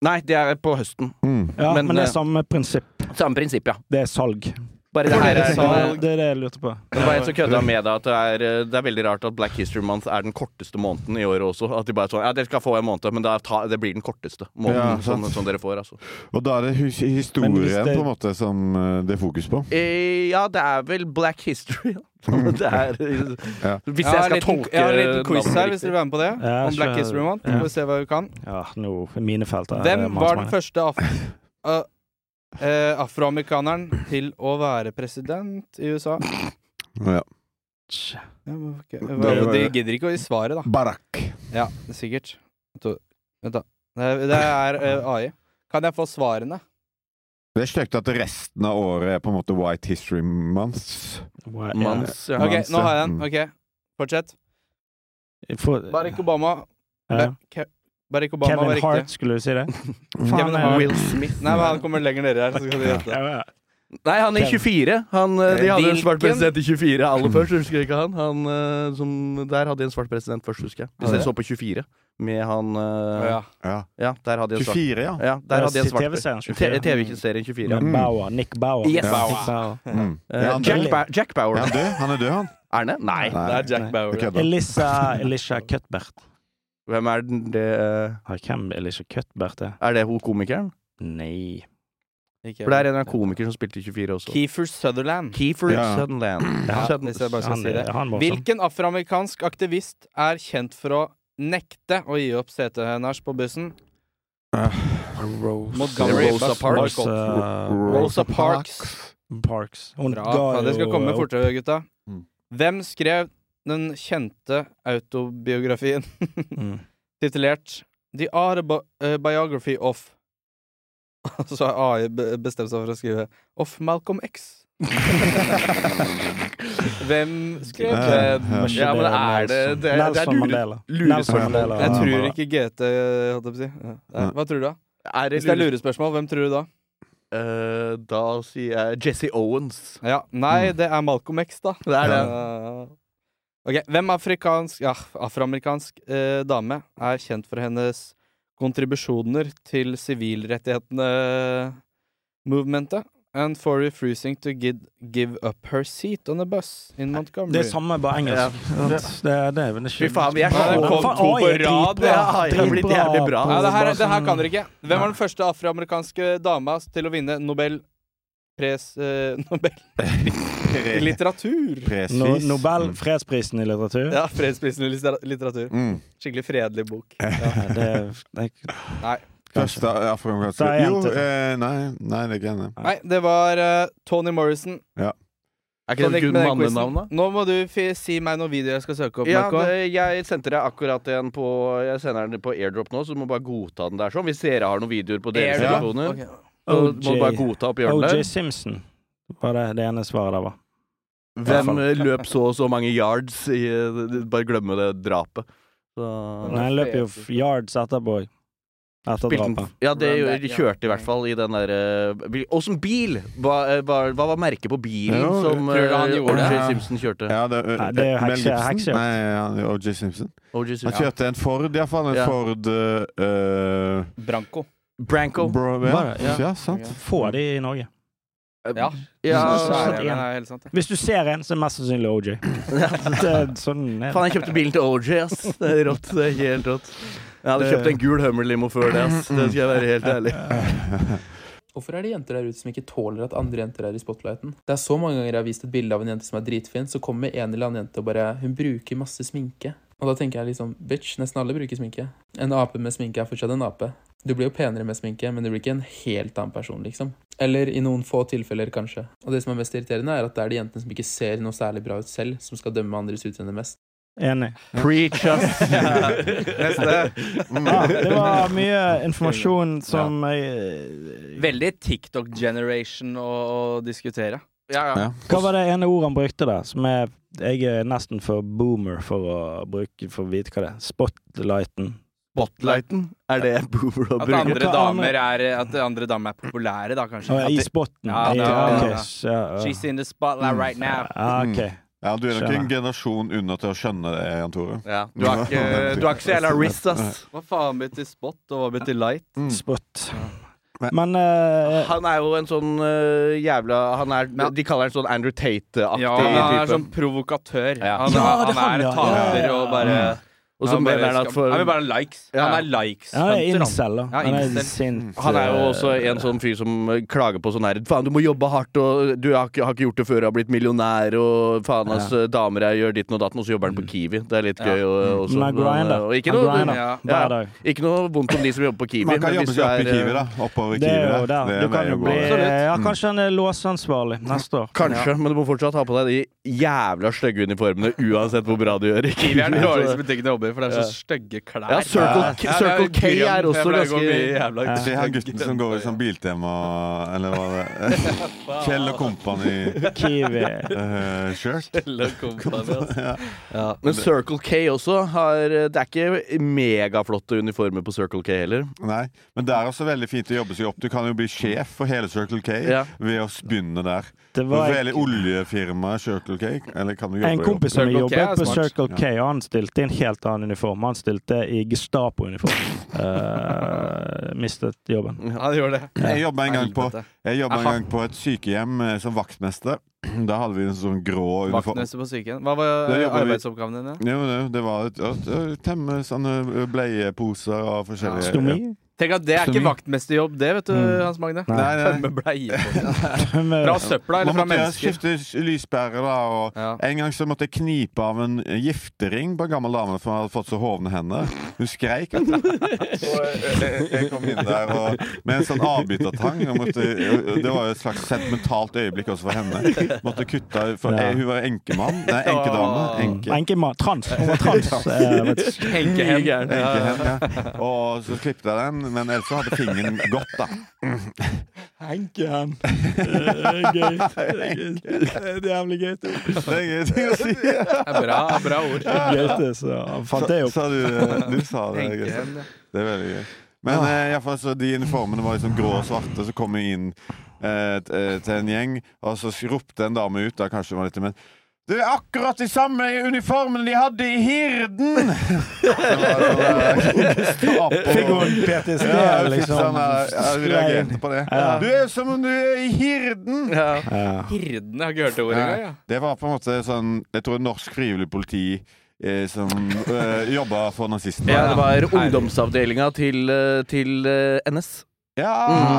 Nei, det er på høsten. Mm. Ja, Men, men, det eh, er samme prinsipp. Samme prinsipp, ja. Det er salg. Bare det Fordi her det er er salg. sånn Det er det jeg lurte på. Det var en som kødda med deg at det er, eh, det er veldig rart at Black History Month er den korteste måneden i året også. At de bare er sånn Ja, dere skal få en måned, men da ta, det blir den korteste Ja, måneden som sant. som dere får, altså. Og da er det hus historien Men hvis det- på en måte som eh, det er fokus på. [LAUGHS] Eh, ja, det er vel black history. [LAUGHS] ja. Det er, eh, Ja. Hvis Jeg jeg har skal en liten, tolke jeg har en liten quiz navnet her, riktig. hvis dere vil være med på det. Ja, om Black kjør. History Month. Ja. Får vi se hva vi kan. Ja, nå, minefelt er Hvem masse var den mange. første af... Uh, eh, afroamerikaneren til å være president i USA? Ja. Ja, men ok. Det var- De gidder ikke å gi svaret, da. Barack. Ja, sikkert. To. Vent, da. Det det er eh, AI. Kan jeg få svarene? Det er stygt at resten av året er på en måte White History Month. Wow, Mans, ja. OK, nå har jeg en. Ok, Fortsett. ja. For, Barack Obama. ja. Ke- Barack Obama var Kevin riktig. Hart, skulle du si [LAUGHS] det? Kevin Faen, jeg- Hart. Will Smith. Nei, men han kommer lenger nedi her. Så skal de gjette. Ja, ja. Nei, han er 24. Han, eh, de hadde en svart Hvilken? president i 24 [LAUGHS] aller først, husker jeg ikke han. han eh, som, der hadde de en svart president først, husker jeg. Hvis Hadde jeg så på 24 med han eh, Å, ja. Ja. ja, der hadde de en svart 24, ja. ja, der hadde de en svart TV-serien T- 24. TV-serien 24. Ja, Ja. Mm. Bauer. Nick Bauer. Yes. Nick Bauer. Bauer. Mm. Eh, Er han Jack, død? Ba Jack Bauer. Er han død? Han er [LAUGHS] død, han. Erne? Nei. Det er Jack Bauer. Jeg ja. kødder. Elisa, [LAUGHS] Elisha Cuthbert. Hvem er den det eh, Har Hvem Elisha Cuthbert er? Er det hun komikeren? Nei. Ikke For det er en av komikerne som spilte i 24 også. Kiefer Sutherland. Kiefer Ja. Sutherland. [CLEARS THROAT] Ja, Sutherland. hvis jeg bare skal Han, si det. er- han var sånn. Hvilken afroamerikansk aktivist er kjent for å nekte å gi opp setet hennes på bussen? Montgomery Rosa Bus Parks. Boycott. Rosa Parks. uh, Parks. Hun Bra. ga faen, Det skal jo- komme fortere, gutta. Mm. Hvem skrev den kjente autobiografien Mm. titulert The Autobiography of [LAUGHS] Og så har AI be- bestemt seg for å skrive Of Malcolm X. [LAUGHS] Hvem skrev Eh, den? eh, Ja, men er det- Nelson. det er- det er Nelson lure- Mandela. lure- Nelson Ja. Mandela. Jeg Ja, tror bra. ikke GT, holdt jeg på å si. Ja. Ja. Hva tror du, da? Er det Hvis det er lurespørsmål, hvem tror du da? Eh, da sier jeg Jesse Owens. Ja, Nei, det er Malcolm X, da. Det er det. Eh, ok, Hvem afrikansk, ja, afroamerikansk eh, dame er kjent for hennes kontribusjoner til sivilrettighetene-movementet? And for refusing to gid, give up her seat on a bus in Montgomery. Det er samme, bare engelsk. Det, det, det, det, Fy faen, vi er så Ja, det kom Faen, to AI er på rad, dritbra. ja. AI har blitt Dritbra jævlig bra. på- Nei, det her, bra det her sånn- kan dere ikke. Hvem var den første afroamerikanske dama til å vinne Nobelpres eh, [LAUGHS] Nobel i litteratur? Presis. No, Nobel fredsprisen i litteratur. Ja, fredsprisen i littera- litteratur. Mm. Skikkelig fredelig bok. Ja, det, det, [LAUGHS] Første afroamerikanske Da er jeg Jo, jente. eh, nei, nei, det er ikke henne. Nei, det var eh, Tony Morrison. Er ikke Sånn gikk det et med good den mannenavn, da? quizen. Nå må du fi- si meg noen videoer jeg skal søke opp. Ja, Marco. det- jeg sendte deg akkurat en på Jeg sender den på airdrop nå, så du må bare godta den der sånn. Hvis dere har noen videoer på deres Airdrop. telefoner, Ok. så må du bare OJ, godta oppi hjørnet OJ der. Simpson var det, det ene svaret der var. Hvem Ja. eh, løp så og så mange yards i eh, Bare glemme det drapet. Så Nei, han løp jo f- yards etterpå. Etter Spilte den- drapet. Ja, det Run jo- back, de ja. kjørte i hvert fall i den derre Åssen bil? Hva, eh, hva, hva var merket på bilen Ja, som tror du han eh, gjorde O.J. det? Simpson kjørte? Ja, det, eh, Nei, det er Mel hekse- Gibson? heksejakt. Nei, ja, det er O.J. Simpson. O.J. Simpson. Han kjørte en Ford, iallfall. En Ja. Ford eh, Branco. Branco. Bro, Var ja. det? Ja. Ja. sant. Få de i Norge. Ja. Eh, Ja, Så [LAUGHS] så er sant, det, ja. men det er helt [LAUGHS] sant. det. Hvis du ser en, så er det mest sannsynlig OJ. [LAUGHS] Det er sånn er det. Faen, jeg kjøpte bilen til OJ, ass. Det er rått. Det er helt rått. Jeg hadde kjøpt en gul Hummer-limo før det, ass. Det skal jeg være helt ærlig. Hvorfor er det jenter der ute som ikke tåler at andre jenter er i spotlighten? Det er så mange ganger jeg har vist et bilde av en jente som er dritfin, så kommer en eller annen jente og bare Hun bruker masse sminke. Og da tenker jeg liksom Bitch, nesten alle bruker sminke. En ape med sminke er fortsatt en ape. Du blir jo penere med sminke, men du blir ikke en helt annen person, liksom. Eller i noen få tilfeller, kanskje. Og det som er mest irriterende, er at det er de jentene som ikke ser noe særlig bra ut selv, som skal dømme andres utseende mest. Enig. Preach, ass. Mm. Ja, det var mye informasjon som eh, jeg- Veldig TikTok-generation å, å diskutere. Ja, ja. Ja. Hva var det ene ordet han brukte der, som er Jeg er nesten for boomer for å bruke For å vite hva det er. Spotlighten. Spotlighten er det boomer å At bruke. andre damer er, at andre damer er populære, da, kanskje. Å, At I det- spotten. Ja, Jeg- ja, ok, ja. så, ja, ja. She's in the spotlight right now. Ja, ok. Ja, du er nok Skjønner. en generasjon under til å skjønne det, Jan Tore. Ja, du har ikke, du har ikke så jævla wrist, ass. Hva faen betyr spot, og hva betyr light? Mm. Spot. Men- Men eh, Han er jo en sånn eh, jævla han er, De kaller han sånn Andrew Tate-aktig Ja, han er type. sånn provokatør. Ja. Han, Ja, han, det er han, er ja. Mm. taper Ja, ja, ja. og bare Og så Han bare mener han at skam- for Han vil bare ha likes. Ja. Han er likes. Ja, han er Hunter, han. incel, da. Ja, Han er incel. sint. Han er jo eh, også en sånn fyr som eh, klager på sånn her Faen, du må jobbe hardt, og eh, du har ikke, har ikke gjort det før, har blitt millionær, og faen, ass, eh, damer jeg gjør ditten og datten, og så jobber han på Mm. Kiwi. Det er litt gøy og, også. eh, Men han grinder. og ikke Han noe, grinder ja. hver dag. ikke noe vondt om de som jobber på Kiwi. Man kan men jobbe seg hvis opp i du er, eh, Kiwi, da. Oppover i Det er Kiwi jo der. der. Det Du er kan veien jo å bli gå. Ja, kanskje han er låseansvarlig neste år. Kanskje, men du må fortsatt ha på deg de jævla stygge uniformene uansett hvor bra du gjør. i altså. Kiwi er den Så- dårligste butikken jeg jobber i, for det er så stygge klær. Ja, Circle, Ja, det Circle K grønn, er jeg pleier å også gå ganske mye jævla Se her gutten som går i sånn biltema Eller hva [LAUGHS] det Kjell og eh, Company-shirt. Kiwi. [LAUGHS] [LAUGHS] Men Circle K også har Det er ikke megaflotte uniformer på Circle K heller. Nei, men det er også veldig fint å jobbe seg opp. Du kan jo bli sjef for hele Circle K Ja. ved å begynne der. Det For var hele oljefirmaet Circle K Eller kan du jobbe en i- kompis som Circle K er jobbet på smart. Circle K, og han stilte i en helt annen uniform. Han stilte i Gestapo-uniform. Eh, mistet jobben. Ja, det gjør det. Jeg jobba en gang på Helvete. Jeg jobba en Aha. gang på et sykehjem eh, som vaktmester. [CLEARS THROAT] Da hadde vi en sånn grå uniform. Vaktmester på sykehjem. Hva var Det eh, jobber vi- arbeidsoppgavene dine? Jo, jo, det var et, et, et, temme sånne bleieposer og forskjellige Stomi? Tenk at Det er ikke Stomi. vaktmesterjobb, det, vet du, Mm. Hans Magne. Nei. Nei, eh, nei. Tømme bleier. [LAUGHS] Fra [LAUGHS] Med- søpla eller Man måtte fra jo mennesker. skifte s- lyspære, da. Og Ja. en gang så måtte jeg knipe av en eh, giftering på en gammel dame som hadde fått så hovne hender. Hun [LAUGHS] skreik. vet du. Og jeg, eh, jeg kom inn der og, med en sånn avbitertang. og måtte- Det var jo et slags sentimentalt øyeblikk også for henne. Måtte kutte For Ja. jeg, hun var enkemann. Nei, enkedame. Enke. Enkemann. Trans. Hun var trans. eh, vet [LAUGHS] du. Henkehem. Ja. Enkehem, ja. Og så klippet jeg den, men ellers så hadde fingeren gått, da. [LAUGHS] Henken. Gøy. Det er jævlig gøy. Det er ingenting å si. Det er Bra, bra ord. Gaute, så han fant det Sa, opp. sa du, det? du sa det. Gustav. Henkehem. ja. Det er veldig gøy. Men Ah. eh, i hvert fall, så de uniformene var liksom grå og svarte, så kom jeg inn eh, t- eh, til en gjeng, og så ropte en dame ut, da kanskje det var litt men det er akkurat de samme uniformene de hadde i Hirden! [LAUGHS] Fikk Fikk [LAUGHS] hun PTSD, liksom? Vi eh, reagerte på sånn, det. Ja. Du er som om du er i Hirden! Ja. Hirden, jeg har ikke hørt det ordet engang. Ja. Det var på en måte sånn Jeg tror norsk frivillig politi eh, som eh, jobba for nazistene. Ja, det var ungdomsavdelinga til, eh, til eh, NS. Ja, Mm,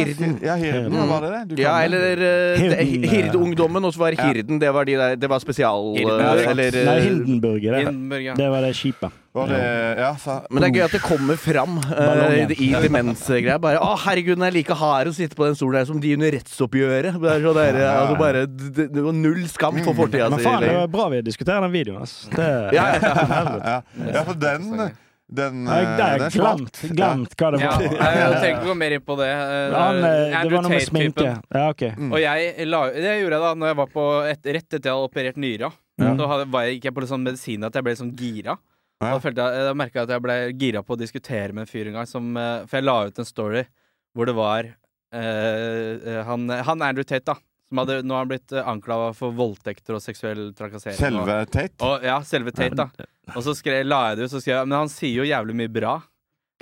Hirden. Ja, Hirden. Ja, var det det? Du Ja, kan det. eller eh, det- Hirden, eh. Hirdungdommen, og så var det Ja. Hirden. Det var, de der, det var spesial... eh, Hirden, ja, sant. eller, eh, Nei, Hindenburger. Det, Hindenburg, ja. det var det skipet. Var det, ja, sa, men det er gøy at det kommer fram eh, Ballongen. i demensgreier. Bare 'Å, herregud, den er like hard å sitte på den stolen her som de under rettsoppgjøret'. Det er så der, eh, altså bare, det, det var null skam for fortida Men si. faen, det Ja, var bra vi diskuterer den videoen. ass. Det, ja. ja, ja, for den Den, Nei, eh, det er den er smart. glemt, glemt hva det Ja, [LAUGHS] var. jeg trenger ikke gå mer inn på det. Eh, Han, eh, det Andrew var noe med Tate-typen. sminke. Ja, ok. Mm, Og jeg la, det gjorde jeg da når jeg var på et, rett etter jeg hadde operert nyra. Så hadde, var jeg, gikk jeg på litt sånn medisin at jeg ble sånn gira. Ja. Og Da, følte jeg, da merka jeg at jeg ble gira på å diskutere med en fyr en gang. Som, eh, for jeg la ut en story hvor det var eh, han, han Andrew Tate, da. Som hadde, nå har han blitt anklaga for voldtekter og seksuell trakassering. Selve Tate. Og, ja, selve Tate, da. Og så skre, la jeg det ut, så skrev jeg Men han sier jo jævlig mye bra.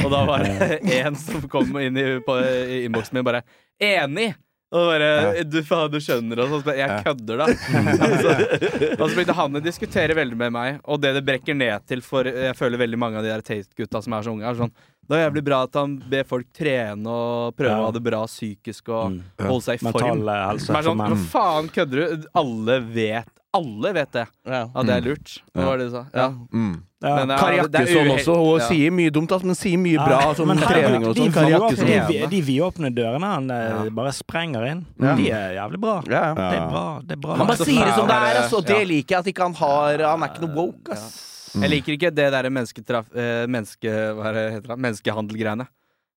Og da var det [LAUGHS] en som kom inn i, på- i innboksen min bare Enig! Og bare Du faen, du skjønner og sånn. så bare, Jeg kødder, da. Altså, og så begynte han å diskutere veldig med meg, og det det brekker ned til for Jeg føler veldig mange av de der Tate-gutta som er så unge, er sånn Det er jævlig bra at han ber folk trene og prøve å ha det bra psykisk og holde seg i form. Mental eh, helse. Som er for sånn, menn. Hva faen kødder du? Alle vet Alle vet det. Ja, det er lurt. Det var det du sa. Mm. Ja. Mm. Ja. Men det er- Kari det er Jakkesson uhe- også. Hun Ja. sier mye dumt, ass, men sier mye bra som Men herregud, trening og de sånn. Kari vidåpne- Jakkesson. de vi- De vidåpne dørene han eh, bare sprenger inn. De er jævlig bra. Ja, ja. Det er bra. det er bra. Altså, Han bare så sier det som det fæl, er, ass, og det ja. liker jeg at ikke han har Han er ikke noe woke, ass. Jeg liker ikke det derre mennesketraf... eh, Menneske, hva er det heter det? Menneskehandelgreiene.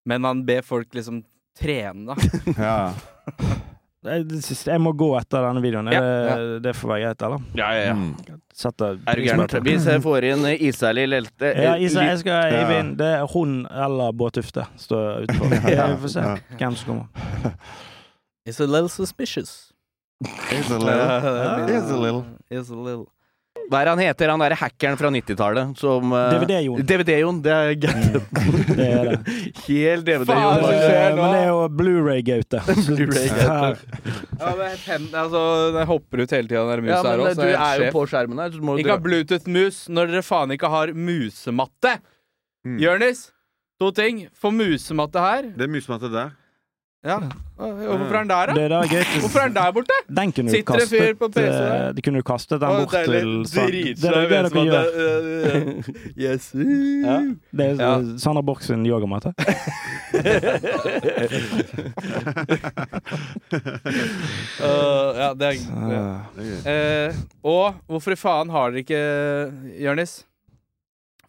Men man ber folk liksom trene, da. Ja. Jeg, det siste- jeg må gå etter denne videoen. Er Ja, det, det får være greit, eller? Ja, ja, Mm. Setter Er du gæren? Hvis Liksom jeg får inn eh, Isali Lelte eh, Ja, Isa, jeg skal Ja. hive inn. Det er hun eller Bård Tufte står utenfor. [LAUGHS] Ja. Vi får se hvem som kommer. It's a little suspicious. It's a little. It's a little. It's a little. Hva er han heter, han derre hackeren fra 90-tallet som eh, DVD-Jon. DVD-Jon, det er gæren. Det er det. [LAUGHS] Helt Faen, DVD-Jon. så- Altså, skjer eh, Men nå? det er jo [LAUGHS] Blu-ray-gaute. Blu-ray-gaute. Ja, men fem, altså, jeg hopper ut hele tida når Ja, musa men her eh, òg, du så jeg er er jo sjef. på skjermen her, så må du Ikke ha Bluetooth-mus når dere faen ikke har musematte! Mm. Jørnis, to ting. Få musematte her. Det er musematte der. Ja. Hvorfor er den der, Det da? er da Gaute Hvorfor er den der borte? Den kunne du Sitter en kastet fyr på PC der? eh, Det kunne du kastet den bort til Sand- Det er det dere gjør. [LAUGHS] Dritsvær. Yes. Ja. Det er Ja. eh, Sander Borch sin [LAUGHS] yogamatte. Øh, ja, det er ja. Eh, Eh, Og hvorfor i faen har dere ikke, Jørnis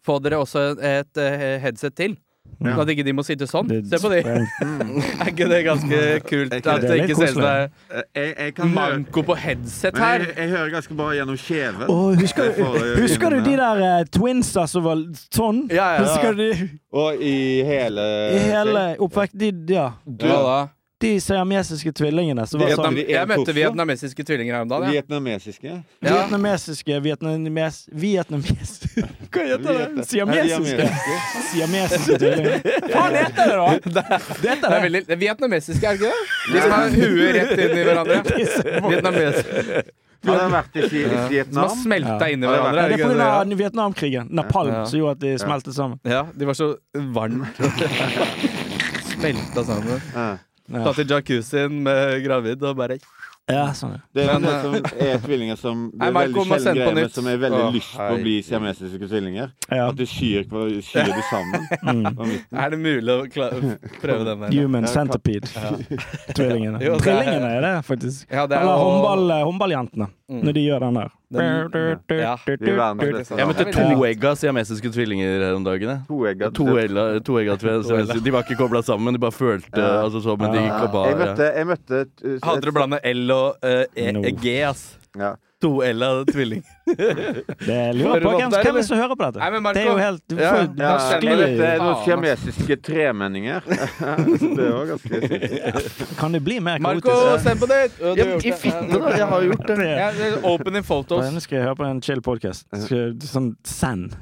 Få dere også et, eh, headset til? Ja. Sånn at ikke de må sitte sånn. mm. det- Se på de. [LAUGHS] Er ikke det ganske kult? ikke det? At det Det [LAUGHS] er ikke litt ser ut som det er Eh, Jeg, jeg kan høre manko på headset Men her. jeg, jeg hører ganske bra gjennom kjeven. Åh, husker, Det får jeg husker du inn de her. der eh, twinsa som var sånn? Ja, ja, ja. Husker du de? Og i hele I hele oppvekst de, Ja. Du- Ja, da. De siamesiske tvillingene som var sånn. Vietnam- Vietnam, jeg møtte vietnamesiske tvillinger her om dagen. jeg. Vietnamesiske. Ja. Vietnamesiske Vietnames... Vietnames... [LAUGHS] Hva heter det? Siamesiske? Siamesiske [LAUGHS] tvillinger. Hva faen heter det, da? Det Det er heter det. veldig, det er vietnamesiske, er det ikke det? De som har huet rett inn i hverandre. [LAUGHS] Vietnamesiske Han har vært i Vi- som har Vietnam. smelta inn i Ja. hverandre. Ja, er det det er ikke pga. det? Vietnamkrigen. Napalm Ja. som gjorde at de smeltet sammen. Ja, de var så [LAUGHS] varmt. Smelta sammen. Ja. Ja, Satt i jacuzzien med gravid og bare ja sånn. ja. Det er Men, eh, det som er tvillinger [LAUGHS] som Det Nei, er Marco veldig må sjelden sende på greier, men nytt. som er veldig Å, lyst på å bli herregud. siamesiske tvillinger. ja. At du skyr, hver- skyr de [LAUGHS] sammen. Mm. på midten. Er det mulig å kla- prøve den der? Human centipede. [LAUGHS] Tvillingene. Jo, det er- Trillingene er det, faktisk. Ja, det er Eller jo- Mm. håndball, eh, håndballjentene, når de gjør den der. Ja, de er sånn verdens beste. Jeg møtte Ja, men- toegga siamesiske tvillinger her om dagen. jeg. Toegga Toella- toegga [LAUGHS] tvil- siamesiske- De var ikke kobla sammen, de bare følte Ja. altså, så, men de Ja. kobla Jeg møtte, ja. jeg møtte et- et- Hadde du blanda L og eh, E- No. G, ass? ja. To L av tvilling. Det lurer jeg på Hører hvem, du opp der, hvem er eller? det som hører på dette. Nei, men Marco- det er jo helt Ja, for- Ja, jeg vanskelig. møtte noen Faen, ass. siamesiske tremenninger. [LAUGHS] det var ganske [LAUGHS] sykt. Kan det bli mer Marco, kaotisk? send på nytt! Ja, men I fitte, da! Jeg har gjort det. Ja, Ja, det er open in photos. Nå skal jeg høre på en chill podcast. Skal jeg- Sånn send.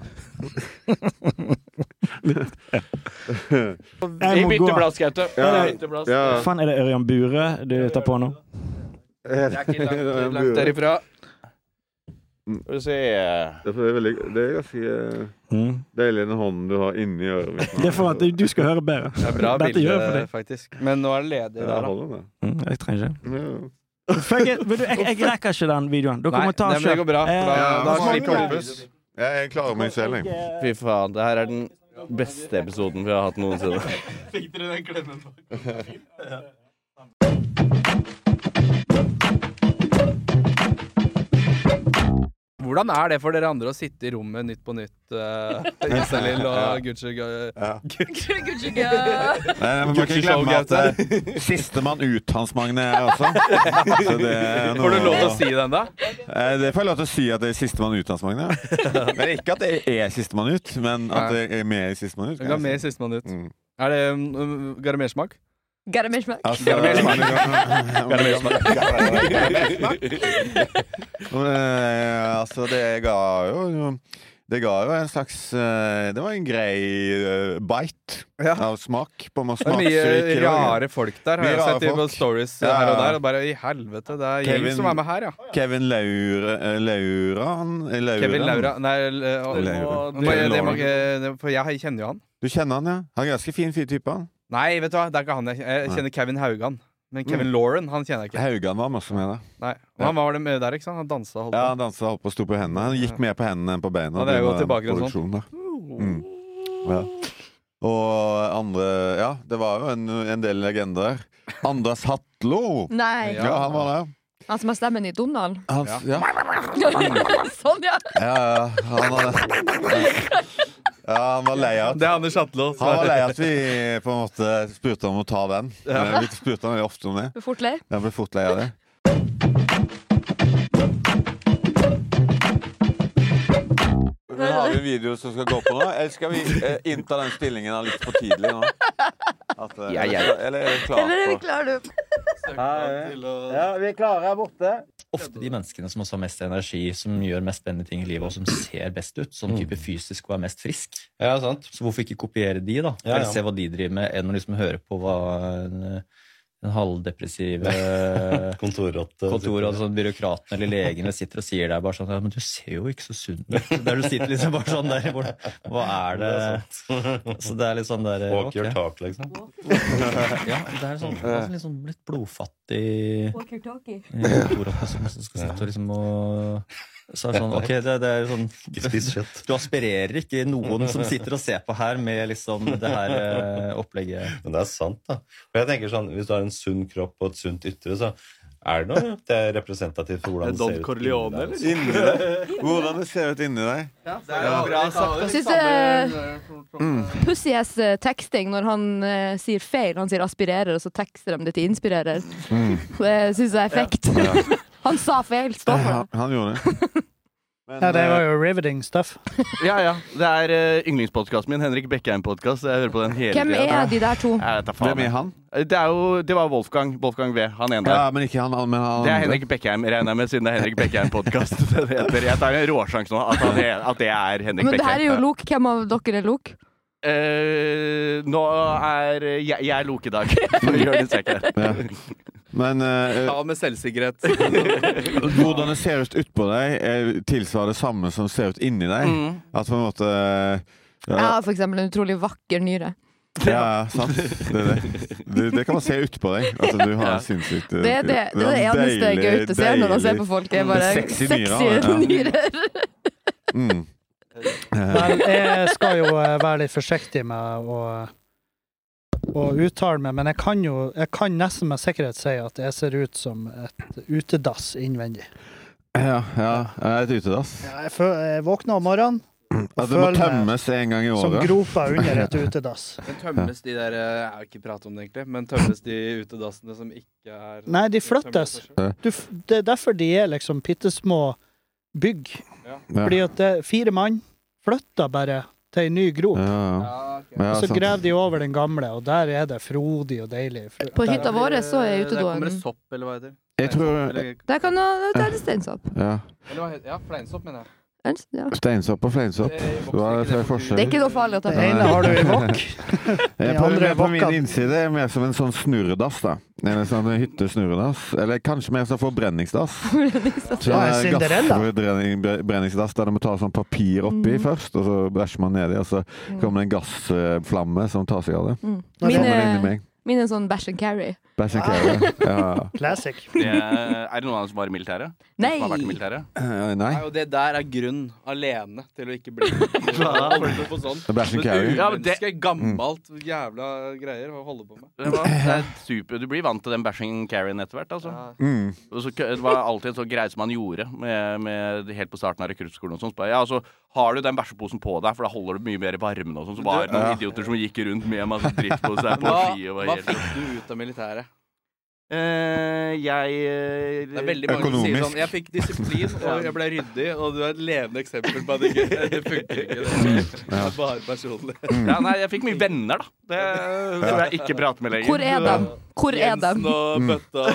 Jeg må gå. blask, Gaute. Ja. Vi bytter blask. Ja. Faen, er det Ørjan Bure du tar på nå? Det er [LAUGHS] ikke langt, langt derifra. Skal vi se eh, Det er veldig, det er ganske eh, Mm. deilig den hånden du har inni øret. mitt nå. Det er for at du skal høre bedre. Det er bra Dette gjør jeg for bilde, deg. faktisk. Men nå er det ledig Ja, der, da. holder det. Mm, jeg trenger ikke. Ja, ja. Fuck it. Vet du, jeg, jeg rekker ikke den videoen. Dere Nei, må ta nei, men det selv. går bra. Eh, Da- Ja, da mange slipper du. kompis. Ja, jeg klarer meg selv, jeg. Fy faen, det her er den beste episoden vi har hatt noensinne. Hvordan er det for dere andre å sitte i rommet Nytt på Nytt, uh, [LAUGHS] Isalill og Gucci Gu- Nei, nei, men man kan ikke glemme at eh, sistemann ut, Hans Magne, er jeg også. Så det er noe Får du lov til å si den, da? Eh, Det får jeg lov til å si at det er sistemann ut, Hans [LAUGHS] Magne. Men ikke at jeg er sistemann ut, men at jeg er med i sistemann ut. Du kan med i siste minutt. Mm. Er det um, garmersmak? Garamish-merk. Altså, Gjerne mer [LAUGHS] smak. Gjerne mer smak. Gjerne [LAUGHS] mer smak. Eh, Altså, det ga jo Det ga jo en slags eh, Det var en grei eh, bite Ja. av smak. På med Det er mye smaksriker. rare folk der, Mye har jeg rare sett i på folk. stories Ja, her og ja. der. Og bare i helvete, det er Kevin- Kevin som er med her, ja. Kevin Laure, eh, Lauran eh, Lauren. Kevin Laura Nei, l- eh, å, Laura. nå- det- det Lauren. må ikke- det- For jeg kjenner jo han. Du kjenner han, ja? Han er ganske fin fyr, type. han. Nei, vet du hva, det er ikke han jeg Jeg kjenner Kevin Haugan. Mm. Men Kevin Lauren han kjenner jeg ikke. Haugan var masse med det. Nei, og Han var det med der, ikke sant? Han dansa og holdt Ja, på. Han dansa opp og sto på hendene. Han gikk mer på hendene enn på beina. Ja, det er jo var en tilbake til sånn. produksjon, da. Mm. Ja. Og andre Ja, det var jo en, en del legender. Anders Hatlo! Nei. Ja, han var der. Han som har stemmen i Donald. [LAUGHS] Hans, ja. sånn, ja. Ja, ja, han var det. Ja, han var lei av Det er Anders Atlo. Han var lei av at vi på en måte spurte om å ta den. Vi spurte han veldig ofte om det. Du er fort lei. Jeg ble fort lei av det. Men har vi en video som skal gå på nå, eller skal vi eh, innta den stillingen her litt for tidlig nå? At, eh, Ja, ja. Eller er vi klare Eller er vi på klare, du? Ja. vi er klare her borte. ofte de menneskene som også har mest energi, som gjør mest spennende ting i livet, og som ser best ut, som type fysisk og er mest frisk. Mm. Ja, sant. Så hvorfor ikke kopiere de, da? Ja, ja. Eller se hva de driver med, enn å liksom høre på hva en, eh, en [LAUGHS] halvdepressiv eh, Kontorrotte. kontor og sånn byråkraten eller legen [LAUGHS] eller sitter og sier der bare sånn ja, men du ser jo ikke så sunn ut. Der du sitter liksom bare sånn der, hvor, hva er det? [LAUGHS] Så det er litt sånn der Walk your ok. talk, liksom. [LAUGHS] Ja, det er sånn, det er sånn liksom litt blodfattig Walkie-talkie. kontorrotte som som skal sitte og liksom og så er det sånn, ok, det, det er sånn Ikke spis kjøtt. Du aspirerer ikke noen som sitter og ser på her med liksom det her eh, opplegget. Men det er sant, da. Og jeg tenker sånn, Hvis du har en sunn kropp og et sunt ytre, så er det noe det er representativt for hvordan Er det det ser Don ut. Corleone, inni deg, altså. Inni eller? deg. Hvordan det ser ut inni deg. Jeg syns pussig ass eh, teksting når han eh, sier feil. Han sier aspirerer, og så tekster de det til inspirerer. Mm. [LAUGHS] Det syns jeg er frekt. [LAUGHS] Han sa feil. Stå for Han, det. han gjorde det. Men, Ja, det var eh, jo riveting stuff. Ja, ja. Det er uh, yndlingspodkasten min. Henrik Bekkeheim-podkast. Jeg hører på den hele Hvem tiden. er de der to? Jeg vet da faen. Hvem er han? Det, er jo, det var Wolfgang. Wolfgang V. Han ene der. Ja, men ikke han, han- men han Det er andre. Henrik Bekkeheim, regner jeg med, siden det er Henrik [LAUGHS] Bekkeheim-podkast. Jeg tar en råsjanse nå at, han er, at det er Henrik Men det her er jo Bekkeheim. lok. Hvem av dere er lok? Eh, nå er jeg, jeg er Loke i dag. [LAUGHS] Jonis er ikke det. Ja. [LAUGHS] Men eh, Ta med selvsikkerhet. Hvordan det ser ut utpå deg, eh, tilsvarer det samme som ser ut inni deg. Mm. At på en måte eh, Jeg Mm. ja, har for eksempel en utrolig vakker nyre. ja, sant. Det, er det. Du, det kan man se utpå deg. At du har en sinnssykt eh, Det er det, det, er det eneste deilig- Gaute ser når han ser deilig- på folk. Er bare Sexy sexy nyrer, ja. nyrer. [LAUGHS] Mm. Eh, Vel, jeg skal jo eh, være litt forsiktig med å, å uttale meg, men jeg kan jo jeg kan nesten med sikkerhet si at jeg ser ut som et utedass innvendig. Ja, ja. Jeg er et utedass. Ja, Jeg, fø- jeg våkner om morgenen og At det må føler meg tømmes en gang i som året. gropa under [LAUGHS] et utedass. Men tømmes de der eh, Jeg har ikke pratet om det, egentlig. Men tømmes de utedassene som ikke er Nei, de som tømmer flyttes. seg selv? Du, f- det er derfor de er liksom bitte små bygg. Ja. Fordi at det, fire mann flytter bare til ei ny grop. Ja, ja. Ja, Og så sant. graver de over den gamle, og der er det frodig og deilig. På Der- hytta vår så er utedoen eh, Der kommer det sopp, eller hva heter det? Jeg tror Eller, Der kan du ta en steinsopp. ja. eller hva heter det? Ja, fleinsopp, mener jeg. En- Ja. Steinsopp og fleinsopp. Det vokser Hva er det for ikke det på tur. forskjell? Det er ikke noe farlig å ta Det på. ene har du i vokk. Jeg De på, andre men på min bokkene. innside er jeg mer som en sånn snurredass, da. Eller sånn en hyttesnurredass. Eller kanskje mer sånn forbrenningsdass. Sånn Så Ja, en det er Cinderella. gassforbrenning- bre- brenningsdass der du må ta sånn papir oppi først, og så bæsjer man nedi, og så kommer det en gassflamme som tar seg av det. Mm. Nei, Kommer det inn i [LAUGHS] Mine, meg. mine sånn bæsj and carry. Bæsj and carry. Ja. Classic. Det Er er det noen av oss som var i militæret? Nei! Som har vært i militæret? Eh, Nei. Nei, og det der er grunn alene til å [LAUGHS] ikke bli holde på sånn. Det er bæsj and carry. Ja, men det- Umenneske, gammelt, jævla greier å holde på med. Det var- det er super. Du blir vant til den bashing Karen etter hvert. altså. Ja. Mm. Og så, kø- det var alltid en sånn greie som han gjorde med, med, helt på starten av rekruttskolen. og sånt. Så bare, Ja, så har du den bæsjeposen på deg, for da holder du mye mer i varmen. og sånn. Så var det noen Ja. idioter som gikk rundt med masse dritt på seg. på Hva, ski og var hva helt... fikk du ut av militæret? Eh, jeg eh, Det er veldig mange som sier Økonomisk. sånn Jeg fikk disiplin, og jeg ble ryddig, og du er et levende eksempel på at det, ikke, det funker ikke. Det Mm. Ja. er [LAUGHS] bare personlig. ja, Nei, jeg fikk mye venner, da. Det, som jeg ikke prater med lenger. Hvor er de? Hvor er Jensen de? og bøtta.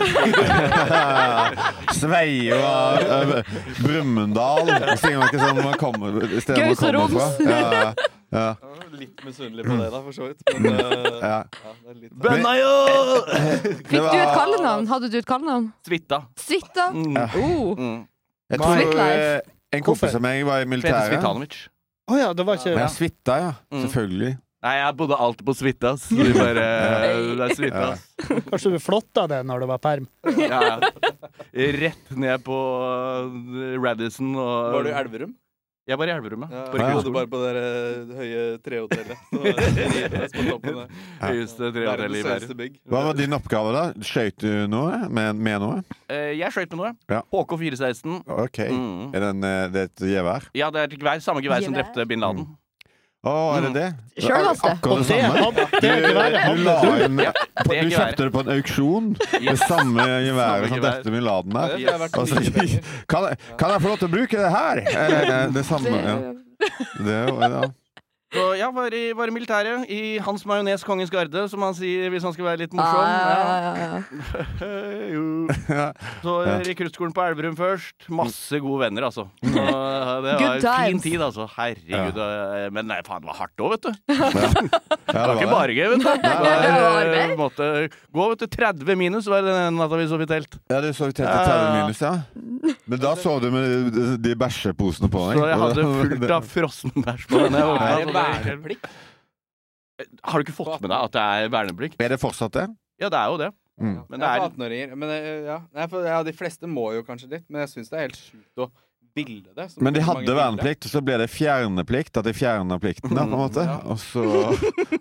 [LAUGHS] Sveio av eh, Brumunddal. Sier man ikke sånn når man kommer stedet Gaus man og kommer Roms. fra? Ja, ja, Mm. Jeg er Litt misunnelig på det, da, for så vidt. Men eh, ja. ja, det er litt Bønna jo! Det Fikk du et var- kallenavn? Hadde du et kallenavn? Svitta. Suita? Mm. Oh. Mm. Jeg Nei. tror eh, en kompis Hvorfor? av meg var i Fete militæret. Svitanovic. Å ja, det var ikke Men jeg svitta, ja. Mm. Selvfølgelig. Nei, jeg bodde alltid på Svitta. [LAUGHS] ass. Så vi bare Det er Svitta. ass. Kanskje du flotta det når det var perm? Ja, ja. Rett ned på eh, Radisson og Var du i Elverum? Jeg var i Elverum, ja. Jeg På ja. bodde bare på det der, eh, høye trehotellet. Så var det Rives på toppen der. Høyeste trehotellet Verdens i verden. høyeste bygg. Hva var din oppgave, da? Skøyt du noe? Med, med noe? Eh, Jeg skøyt med noe. Ja. HK416. OK. Mm. Er den, eh, det er et gevær? Ja, det er et gevær. Samme gevær som Gevær? drepte bin Laden. Å, er det det? Det er Sjølvaste. Akkurat det Det samme. hadde Du, det geværet du, la hadde du. inn, på, det du geværet. kjøpte det på en auksjon, det [LAUGHS] samme geværet som gevær. drepte min laden Ja, der. det har vært [LAUGHS] Og så- mye penger. Kan, jeg- kan jeg få lov til å bruke det her? Eh, eh, Det samme. Mm, Ja. Det- Det, er jo- ja. Så ja, var i, var i militæret. I Hans Majones Kongens Garde, som han sier hvis han skal være litt morsom. Ja, ja, ja, ja. Eh, [LAUGHS] jo. Så eh, rekruttskolen på Elverum først. Masse gode venner, altså. Så, eh, det Good var en fin times. tid, altså. Herregud. eh, Men nei, faen, det var hardt òg, vet du. Ja, Det var ikke det. bare gøy, vet du. Det [LAUGHS] var var, eh, arbeid. måtte gå vet du, 30 minus var det den natta vi sov i telt. Ja, du sov i telt i 30 minus, ja. Men da sov du med de- de bæsjeposene på deg. Så [LAUGHS] jeg hadde fullt av frossenbæsj på den. Jeg våkna, Er så det det var helt- verneplikt? Har du ikke fått med deg at det er verneplikt? Er det fortsatt det? Ja, det er jo det. Mm. Men Jeg det er er for 18-åringer. Men eh, ja. Nei, for, ja, de fleste må jo kanskje dit, men jeg syns det er helt sjukt å bilde det. som Men de så mange hadde bilder. verneplikt, og så ble det fjerneplikt. At de fjerna plikten, da, på en måte. Og så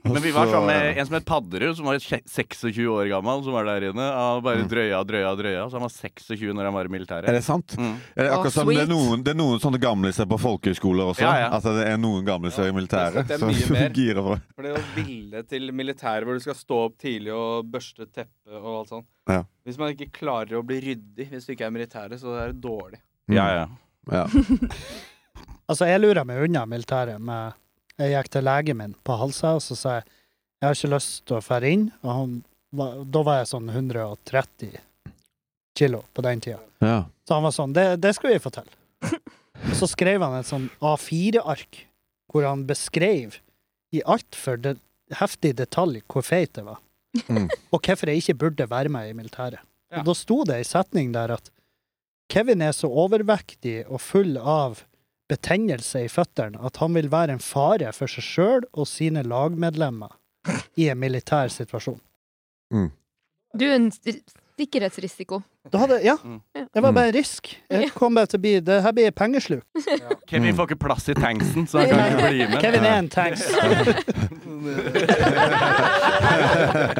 Men vi var sammen med en som het Padderud, som var sje- 26 år gammel, som var der inne. Han bare drøya, drøya, drøya. Så han var 26 når han Mm. var i Er militæret. det sant? Mm. Er det Å, akkurat som det er sweet. noen, det er noen sånne gamliser på folkehøyskoler også? Ja, ja. At det er noen gamliser i militæret? Det er Så [LAUGHS] mye vi mer. girer for det. For det å ville til militæret hvor du skal stå opp tidlig og børste teppet og alt sånt. Ja. Hvis man ikke klarer å bli ryddig hvis du ikke er militæret, så er det dårlig. Mm. Ja, ja. Ja. Altså, jeg lurer meg unna militæret med Jeg gikk til legen min på Halsa, og så sa jeg jeg har ikke lyst til å fære inn. Og han, var- da var jeg sånn 130 kilo på den tida. Ja. Så han var sånn, det, det skal vi få til. Og så skrev han et sånn A4-ark, hvor han beskrev i altfor de heftig detalj hvor feit det var, Mm. og hvorfor jeg ikke burde være med i militæret. Ja. Og da sto det ei setning der at Kevin er så overvektig og full av betennelse i føttene at han vil være en fare for seg sjøl og sine lagmedlemmer i en militær situasjon. Du er en ri- sikkerhetsrisiko. Da hadde, ja, Mm. det var bare en risk. Jeg kom bare til å bli, det her blir pengesluk. Kevin får ikke plass i Mm. tanksen, så han kan ikke bli med. Kevin er en [LAUGHS] tanks.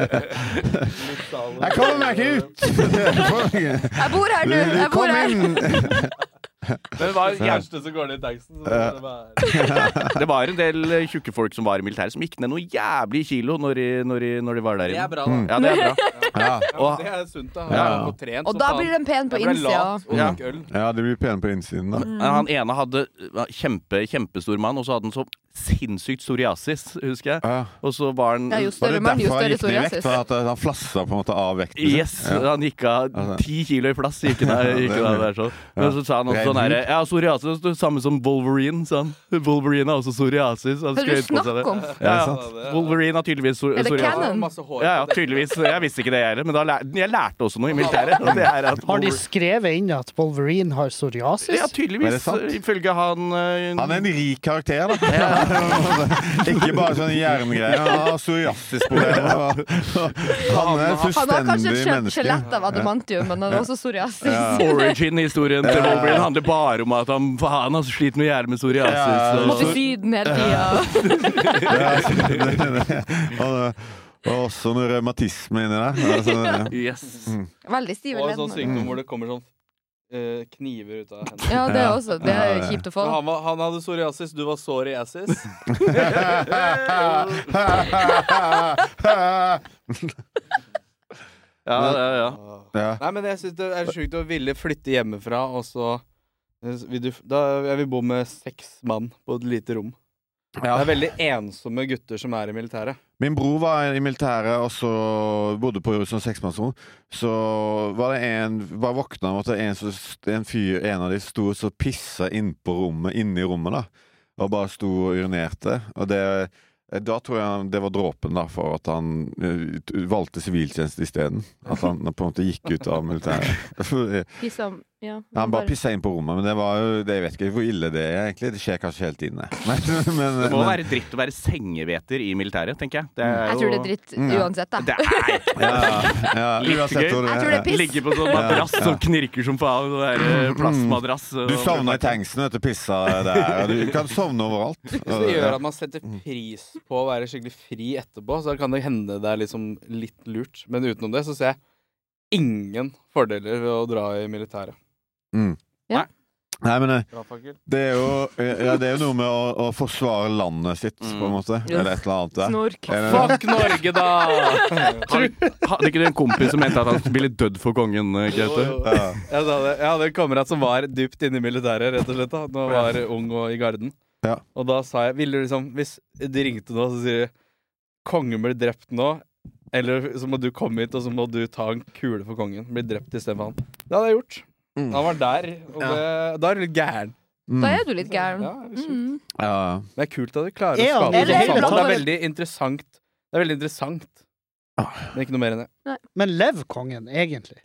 [LAUGHS] Jeg kommer meg ikke ut! Jeg bor her nå! Jeg bor Kom her! inn! Men [LAUGHS] det var, jævlig- Første som går ned i tanksen, så Ja. skal det være det var en del eh, tjukke folk som var i militæret, som gikk ned noe jævlig kilo når de, når de, når de var der Det er inne. Mm. bra, da. Ja, det [LAUGHS] er bra. Ja. Og- Det er sunt, da. Ja. Og, trent, Og da blir den pen på innsida. Jeg ble Ja. lat og drakk øl. ja, de blir pene på innsiden, da. Mm. Han ene hadde var kjempe, kjempestor mann, og så hadde han så sinnssykt psoriasis, husker jeg. Ja. Og så var han Ja, jo Var større det mann, jo derfor større han gikk ned i vekt? psoriasis. For at han flassa på en måte av vekten? sin? Yes, han gikk av ti kilo i plass. Gikk han, Ja, det gikk er han mye. der sånn. Men så sa han også Rein sånn herre hud. Ja, psoriasis det er samme som Wolverine, sa han. Wolverine har også psoriasis. Han Hva er det skrøt du på snakker seg det. om? Ja, Ja, ja. sant. Wolverine har tydeligvis psor- Er det psoriasis. canon? Og masse hår. Ja, ja, på det. tydeligvis. Jeg visste ikke det, jeg heller. Men da lær, jeg lærte også noe i militæret. og Det er Har at de Wolverine- skrevet inn at Wolverine har ja, psoriasis? Er tydeligvis. det sant? Ifølge han eh, Han er en rik karakter, da. [LAUGHS] Ikke bare sånn jerngreier. Han har psoriasisproblemer. Han er et Han har kanskje fullstendig et skjø- menneske. skjelett av adamantium, men han har også [LAUGHS] psoriasis. Origin-historien til Wolverine handler bare om at han faen altså, sliter med hjerne med Ja, psoriasis. Må til Og, Syden hele tida. Ja, [LAUGHS] det- det- det. Han har også noe revmatisme inni der. [LAUGHS] Altså, yes. Mm. Veldig stive Og en sånn ledd. Mm. sykdom hvor det kommer sånn eh, kniver ut av hendene. Ja, det er også. Det er kjipt å få. Men Han, var, han hadde psoriasis, du var psoriasis. [LAUGHS] ja. Ja, ja, ja. [LAUGHS] Ja. Nei, men jeg syns det er sjukt å ville flytte hjemmefra, og så eh, vil du, Da jeg vil bo med seks mann på et lite rom. Det er veldig ensomme gutter som er i militæret. Min bror var i militæret og så bodde på som seksmannsrom. Så var det en Bare våkna han at en, som- en fyr, en av de, sto og så pissa innpå rommet, inni rommet, da. Og bare sto og urinerte. Og det da tror jeg han- det var dråpen da for at han eh, t- valgte siviltjeneste isteden. At han på en måte gikk ut av [LAUGHS] militæret. Liksom, ja. Han bare pissa inn på rommet, men det var jo, det, jeg vet ikke hvor ille det er egentlig. Det [LAUGHS] skjer kanskje helt inne. Men, men, Det må men- være dritt å være sengeveter i militæret, tenker jeg. Det er Jeg tror det er dritt Mm, ja. uansett, Det da. er ja, ja, Litt uansett hvor du Jeg tror det er [LAUGHS] piss. Ligge på sånn madrass Ja, ja. som knirker som faen. Sånn der, eh, Mm. plastmadrass. Du og- sovner i tanksen etter pissa der. og Du kan sovne [LAUGHS] overalt. Hvis det gjør at man setter pris på å være skikkelig fri etterpå, så kan det hende det er liksom litt lurt. Men utenom det så ser jeg ingen fordeler ved å dra i militæret. Mm. Ja. Nei, men eh, Brannfakkel. det er jo, eh, ja, det er jo noe med å, å forsvare landet sitt, på en måte. Eller et eller annet der. Snork. Eller- Fuck Norge, da! Hadde ikke du en kompis som mente at han ville dødd for kongen, eh, Gaute? Ja. Jeg hadde, jeg hadde en kamerat som var dypt inne i militæret, rett og slett. da Når han var ung og i garden. Ja. Og da sa jeg Ville du liksom Hvis de ringte nå, så sier de Kongen blir drept nå. Eller så må du komme hit, og så må du ta en kule for kongen. Bli drept istedenfor han. Det hadde jeg gjort. Mm. Han var der. Og det, da er du litt gæren. Mm. Da er du litt gæren. Altså, Ja, det er Mm. sjukt. Ja, ja. Det er kult at du klarer Er å han skape i det hele det samtale. Det er tatt? veldig interessant. Det er veldig interessant. Men ikke noe mer enn det. Men lev kongen, egentlig?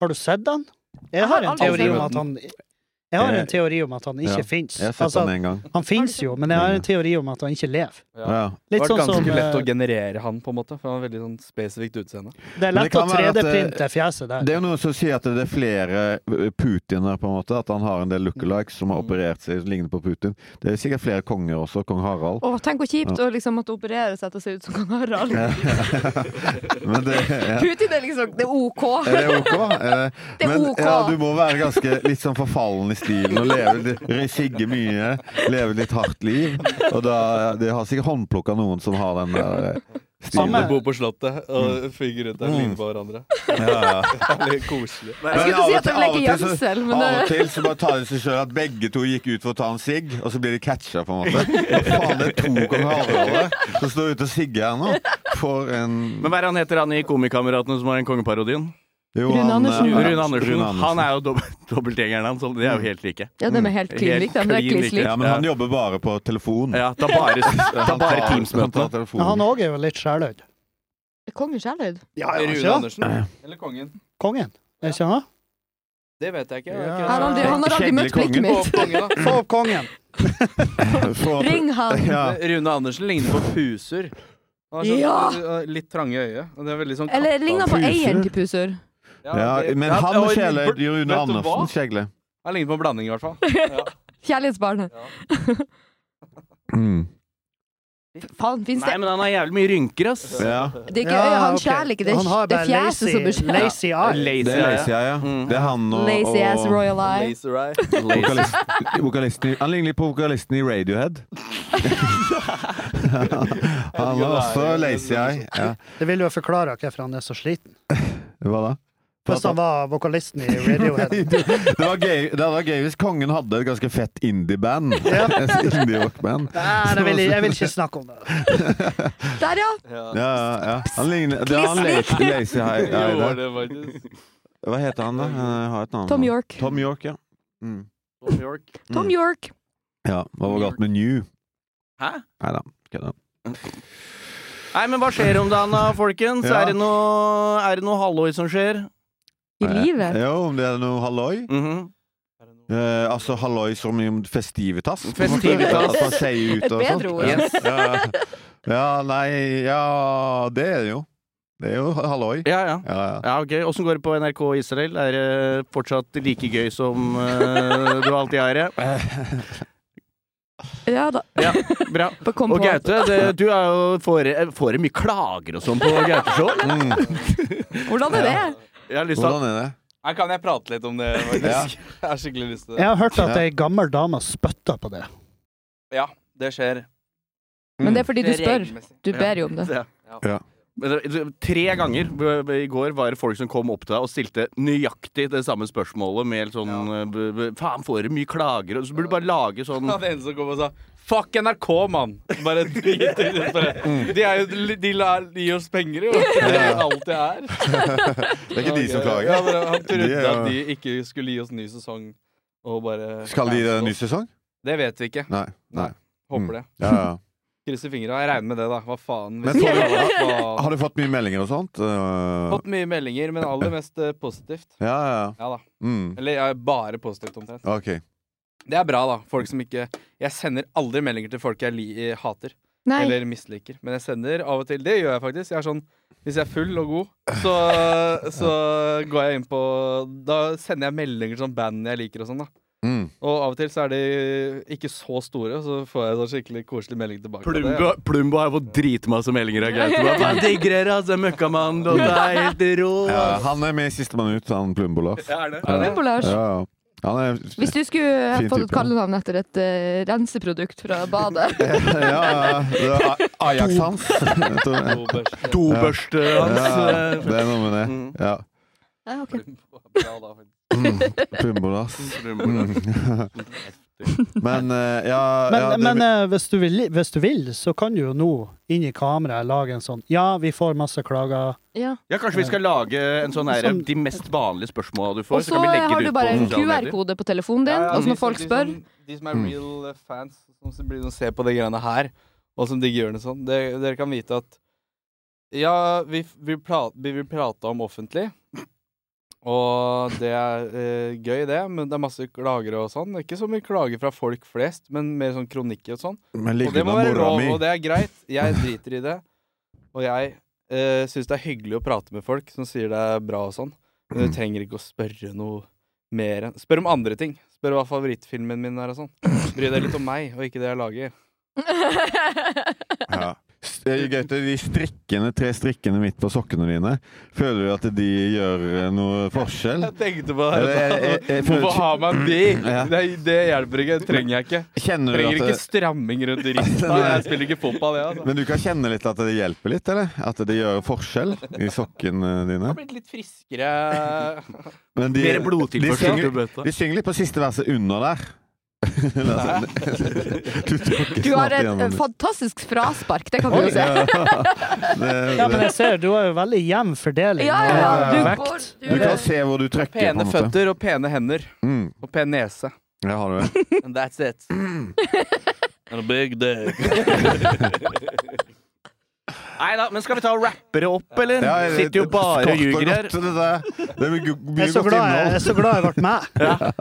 Har du sett han? Jeg har en aldri teori sett om han. at han Jeg har en teori om at han Ja, ikke fins. Jeg har sett Altså, han én gang. han fins jo, men jeg har en teori om at han ikke lever. Ja. Det Litt var sånn ganske som lett å eh, generere han, på en måte. For han har veldig sånn spesifikt utseende. Det er Men det lett å kan være at det- 3D-printe fjeset Det der. er jo noen som sier at det er flere eh, Putin her, på en måte. At han har en del lookalikes som har Mm. operert seg som ligner på Putin. Det er sikkert flere konger også. Kong Harald. Åh, tenk hvor kjipt å liksom måtte operere seg til å se ut som kong [LAUGHS] Harald. Men [LAUGHS] det ja. Putin er liksom Det er OK. Er det ok? Eh, Det er Men ok. ja, du må være ganske litt sånn forfallen i stilen og leve litt, sigge mye. Leve litt hardt liv. Og da, de har sikkert håndplukka noen som har den der eh, Alle Samme- stilen. bor på Slottet og fyker rundt der og Mm. ligner på hverandre. Ja, ja. Det er litt koselig. Jeg skulle Men ikke si av og at de til- av og legger til så- gjemsel, men Av og det til så bare tar de seg sjøl at begge to gikk ut for å ta en sigg, og så blir de catcha, på en måte. Hva faen, det er to kong Harald som står ute og sigger her nå. For en Men hva er han heter han i Komikameratene som har den kongeparodien? Jo, Rune han, eh, Andersen. Rune Andersen. Han er jo dob- [LAUGHS] dobbeltgjengeren hans, så de er jo helt like. Ja, de er helt klin Helt like. De er klin like. kliss like. Mm. Ja, men han jobber bare på telefon. Ja, [LAUGHS] ta bare, ta Han tar- han bare tar Teams-møtene. Men han telefonen. òg er jo litt sjæløyd. Kongen sjæløyd. er Rune ikke det? Andersen? Eller kongen? Kongen. Er ikke han? Det vet jeg ikke. Ja. Jeg Han har har aldri- ikke- han har aldri møtt blikket Få mitt. opp kongen, [LAUGHS] da. Få opp kongen! For- Ring han. Ja. Rune Andersen ligner på Pusur. Han har sånn, Ja. eh, Litt trange øye. Og det er veldig sånn Eller katta- ligner han på eieren til Pusur? Ja, det- men Ja, han og- skjeler Vet Rune du hva? Andersen skjegle. Han ligner på en blanding, i hvert fall. Kjærlighetsbarnet. Mm. Faen, fins Nei, det men han har jævlig mye rynker, ass. Ja. Det er ikke øyet, han ok. skjæler ikke. Det Han har er, det bare er fjeset som blir lazy, skjælt. lazy eye. Det er Lazy Eye, ja. Mm. Det er han og, Lazy ass og royal eye. Laser eye. vokalist, vokalisten i- Han ligner litt på vokalisten i Radiohead. [LAUGHS] han er også Lazy Eye. Ja. Det vil jo forklare hvorfor han er så sliten. Hva da? [LAUGHS] Hvis han var vokalisten i Radiohead. Det var gøy, det var gøy hvis kongen hadde et ganske fett [LAUGHS] indie-band. Indie-rockband. Nei, det vil jeg, jeg vil ikke snakke om det. Der, ja! Ja, ja, ja. Han ligner Det er han Kliss Lazy, lazy Eye. Det Ja, var det. det, faktisk. Hva heter han, da? Han har et navn. Tom York. Tom York, ja. Mm. Tom York. Tom York. Ja, hva var galt med New? Hæ? Nei da, kødda. Nei, men hva skjer om dagen da, folkens? Ja. Er det noe, er det noe halloi som skjer? I livet. Jo, om det er noe halloi? Mhm. Eh, altså halloi som i festivitas? Festivitas. At man sier ut Et og bedre sånt. ord. Yes. Ja. ja, nei Ja, det er det jo. Det er jo halloi. Ja, ja. Ja, ja. Ja, ok. Åssen går det på NRK Israel? Er det fortsatt like gøy som eh, du alltid har det? Ja da. Ja, bra. På kom Og på. Gaute, det, du er jo får, får mye klager og sånn på Gaute Show? eller? Mm. Hvordan er det? Jeg har lyst til å Hvordan er det? [LAUGHS] Her kan jeg prate litt om det, faktisk. [LAUGHS] Jeg har skikkelig lyst til det. Jeg har hørt at ei gammel dame spytta på det. Ja, det [LAUGHS] skjer. Men det er fordi du spør. Regelmessig. Du ber jo om det. Ja. Ja. Men det- Tre ganger b- b- i går var det folk som kom opp til deg og stilte nøyaktig det samme spørsmålet med helt sånn eh, b- b- Faen, får du mye klager? Og så burde du bare lage sånn Ja, det eneste som kom og sa 'fuck NRK, mann'. Bare drit i det. Bare, Mm. De, er jo, de, la- de gir oss penger, jo. Det er alt det er. Det er ikke de som Ja, klager. bare, han trodde De er jo- at de ikke skulle gi oss ny sesong. Og bare Skal de gi det en ny Mm. sesong? Det vet vi ikke. Nei. nei. Håper det. Ja, ja. Krysser fingra. Jeg regner med det, da. Hva faen. Men Hvis får du- ikke, hva- Har du fått mye meldinger og sånt? Eh, Fått mye meldinger, men aller mest eh, positivt. Ja, ja. Ja da. Mm. Eller ja, bare positivt, omtrent. OK. Det er bra, da. Folk som ikke Jeg sender aldri meldinger til folk jeg li eh, hater Nei. eller misliker. Men jeg sender av og til. Det gjør jeg faktisk. Jeg er sånn Hvis jeg er full og god, så, så går jeg inn på Da sender jeg meldinger til sånn band jeg liker og sånn, da. Mm. Og av og til så er de ikke så store, så får jeg sånn skikkelig koselig melding tilbake. på det. Plumbo, Plumbo har fått dritmasse meldinger av Gaute. Bare, «Faen, Digger dere, altså. Møkkamannen. og Det er helt rå. Ja, han er med i siste minutt, han Plumbolars. Ja, Jumbo Lars. ja. Han er Hvis du skulle Fin fått et type, ja. kallenavn etter et eh, renseprodukt fra badet [LAUGHS] [LAUGHS] Ja, ja, det er A- Ajax hans. Jeg tror det. Dobørste Ja, hans. eh, Mm. det er noe med det. Ja. ja, ok. Bra, da, faktisk. Mm. Plumbodass. Men eh, ja, Men, ja det- men eh, hvis, du vil, hvis du vil, så kan du jo nå inn i kameraet lage en sånn Ja, vi får masse klager. Ja. Ja, Kanskje vi skal lage en sånn her, Som- de mest vanlige spørsmåla du Og får? så kan vi legge har det du ut på bare en sosiale medier. QR-kode på telefonen din, og så altså når sånn folk spør De som er real eh, fans, som s- blir- som ser på de greiene her, og som digger gjør det sånn, det, dere kan vite at Ja, vi, f- vi, pla- vi vil prate om offentlig, og det er eh, gøy, det, men det er masse klager og sånn. Ikke så mye klager fra folk flest, men mer sånn kronikker og sånn. Men Og det ligger må med være mora lov, mi. og det er greit. Jeg driter i det. Og jeg uh, syns det er hyggelig å prate med folk som sier det er bra og sånn. Men du trenger ikke å spørre noe mer enn Spør om andre ting. Spør hva favorittfilmen min er og sånn. Bry deg litt om meg, og ikke det jeg lager. Ja. S- eh, Gaute, de strikkene, tre strikkene midt på sokkene dine, føler du at de gjør eh, noe forskjell? Jeg tenkte på Eller, jeg- jeg- jeg føler Hvorfor ha meg de? Ja. Det, det hjelper ikke. Det trenger jeg ikke. Kjenner du Trenger at ikke det, stramming rundt [LAUGHS] rista. Jeg spiller ikke fotball, jeg, altså. Men du kan kjenne litt at det hjelper litt, eller? At det gjør forskjell i sokkene dine? Jeg har blitt litt friskere. Men de, Mer de blodtilførsel synger, til bøtta. de synger litt på siste verset under der. Eller sånn. du tråkker Du har snart et igjennom eh, det. fantastisk fraspark, det kan du jo se. Det- Ja, men det- jeg ser, du har jo veldig jevn fordeling. Ja, ja, ja. av, eh, Du vekt. går Du du- kan se hvor du trekker. på en Pene måte. føtter og pene hender. Mm, Og pen nese. jeg har det. And that's it. And a big dick. Nei da, men skal vi ta og rappe det opp, eller? Ja, jeg- Sitter jo bare kort og ljuger her. godt, Det, der. det er mye, go- Jeg mye er så godt glad jeg, jeg innhold. er så glad jeg ble med.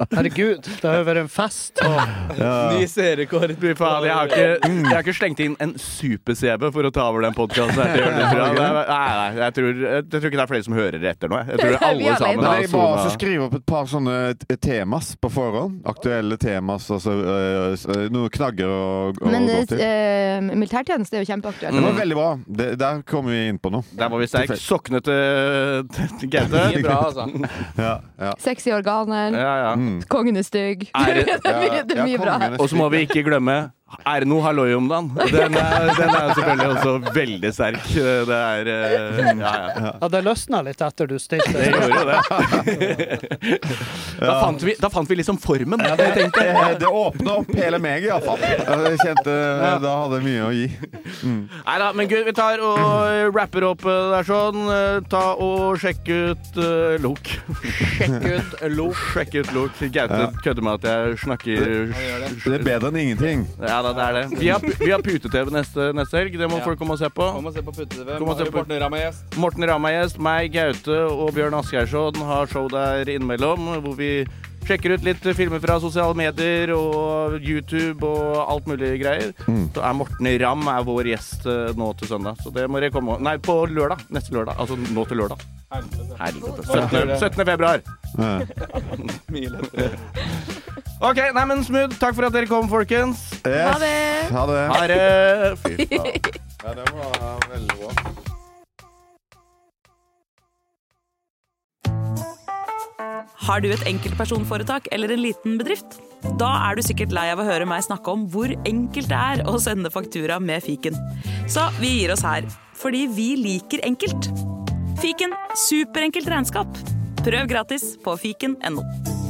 Herregud, det har jo vært en fest. Ny seerrekord. Fy faen, jeg har ikke, jeg har ikke slengt inn en super-CV for å ta over den podkasten. Nei, nei, jeg tror, jeg tror ikke det er flere som hører etter nå. jeg. [LAUGHS] Jeg tror Vi er alle sammen Men har jeg ba oss å sona. skrive opp et par sånne t- temas på forhånd. Aktuelle temas, altså øh, s- øh, noen knagger og, og Men gå til. Mm. eh, militærtjeneste er jo kjempeaktuelt. Det var veldig bra. Det, der kom vi inn på noe. Der var vi sterke. Sokkene til til Mye Gaute. bra, altså. Ja, ja. Sexy organer, [LAUGHS] Ja, ja. Mm. kongen er stygg. Er [LAUGHS] Det det- er mye, det er mye bra. kongen er Og så må vi ikke glemme Erno Halloi om dagen. Den er, den er selvfølgelig også veldig sterk. Det er eh, Ja, ja. Ja, det løsna litt etter du stilte. Det gjorde jo det. [LAUGHS] Da fant vi, da fant vi liksom formen. Jeg tenkte, Eh, Det åpna opp hele meg, iallfall. Jeg kjente eh, Da hadde jeg mye å gi. Nei da, men gud, vi tar og rapper opp eh, der sånn. Eh, Ta og sjekk ut eh, Lok. Sjekk ut Lok. [LAUGHS] Sjekk ut Lok. Gaute kødder med at jeg snakker Det er bedre enn ingenting. Ja da, det er det. Vi har, vi har pute-TV neste, neste helg. Det må Ja. folk komme og se på. Kom og se på Putte-TV. Kom og se Mari på- Borten Ramm er gjest. Morten Ramm er gjest. Meg, Gaute og Bjørn Asgeirsson har show der innimellom, hvor vi sjekker ut litt filmer fra sosiale medier og YouTube og alt mulig greier. Så er Morten Ramm er vår gjest eh, nå til søndag. Så det må dere komme Nei, på lørdag. Neste lørdag. Altså nå til lørdag. Helvete. 17. 17. februar. Eh, Mye lettere. OK, nei, men smooth. Takk for at dere kom, folkens. Ha Yes. det! Ha det. Ha det. Fy Ja, det var veldig bra. Har du et enkeltpersonforetak eller en liten bedrift? Da er du sikkert lei av å høre meg snakke om hvor enkelt det er å sende faktura med fiken. Så vi gir oss her, fordi vi liker enkelt. Fiken superenkelt regnskap. Prøv gratis på fiken.no.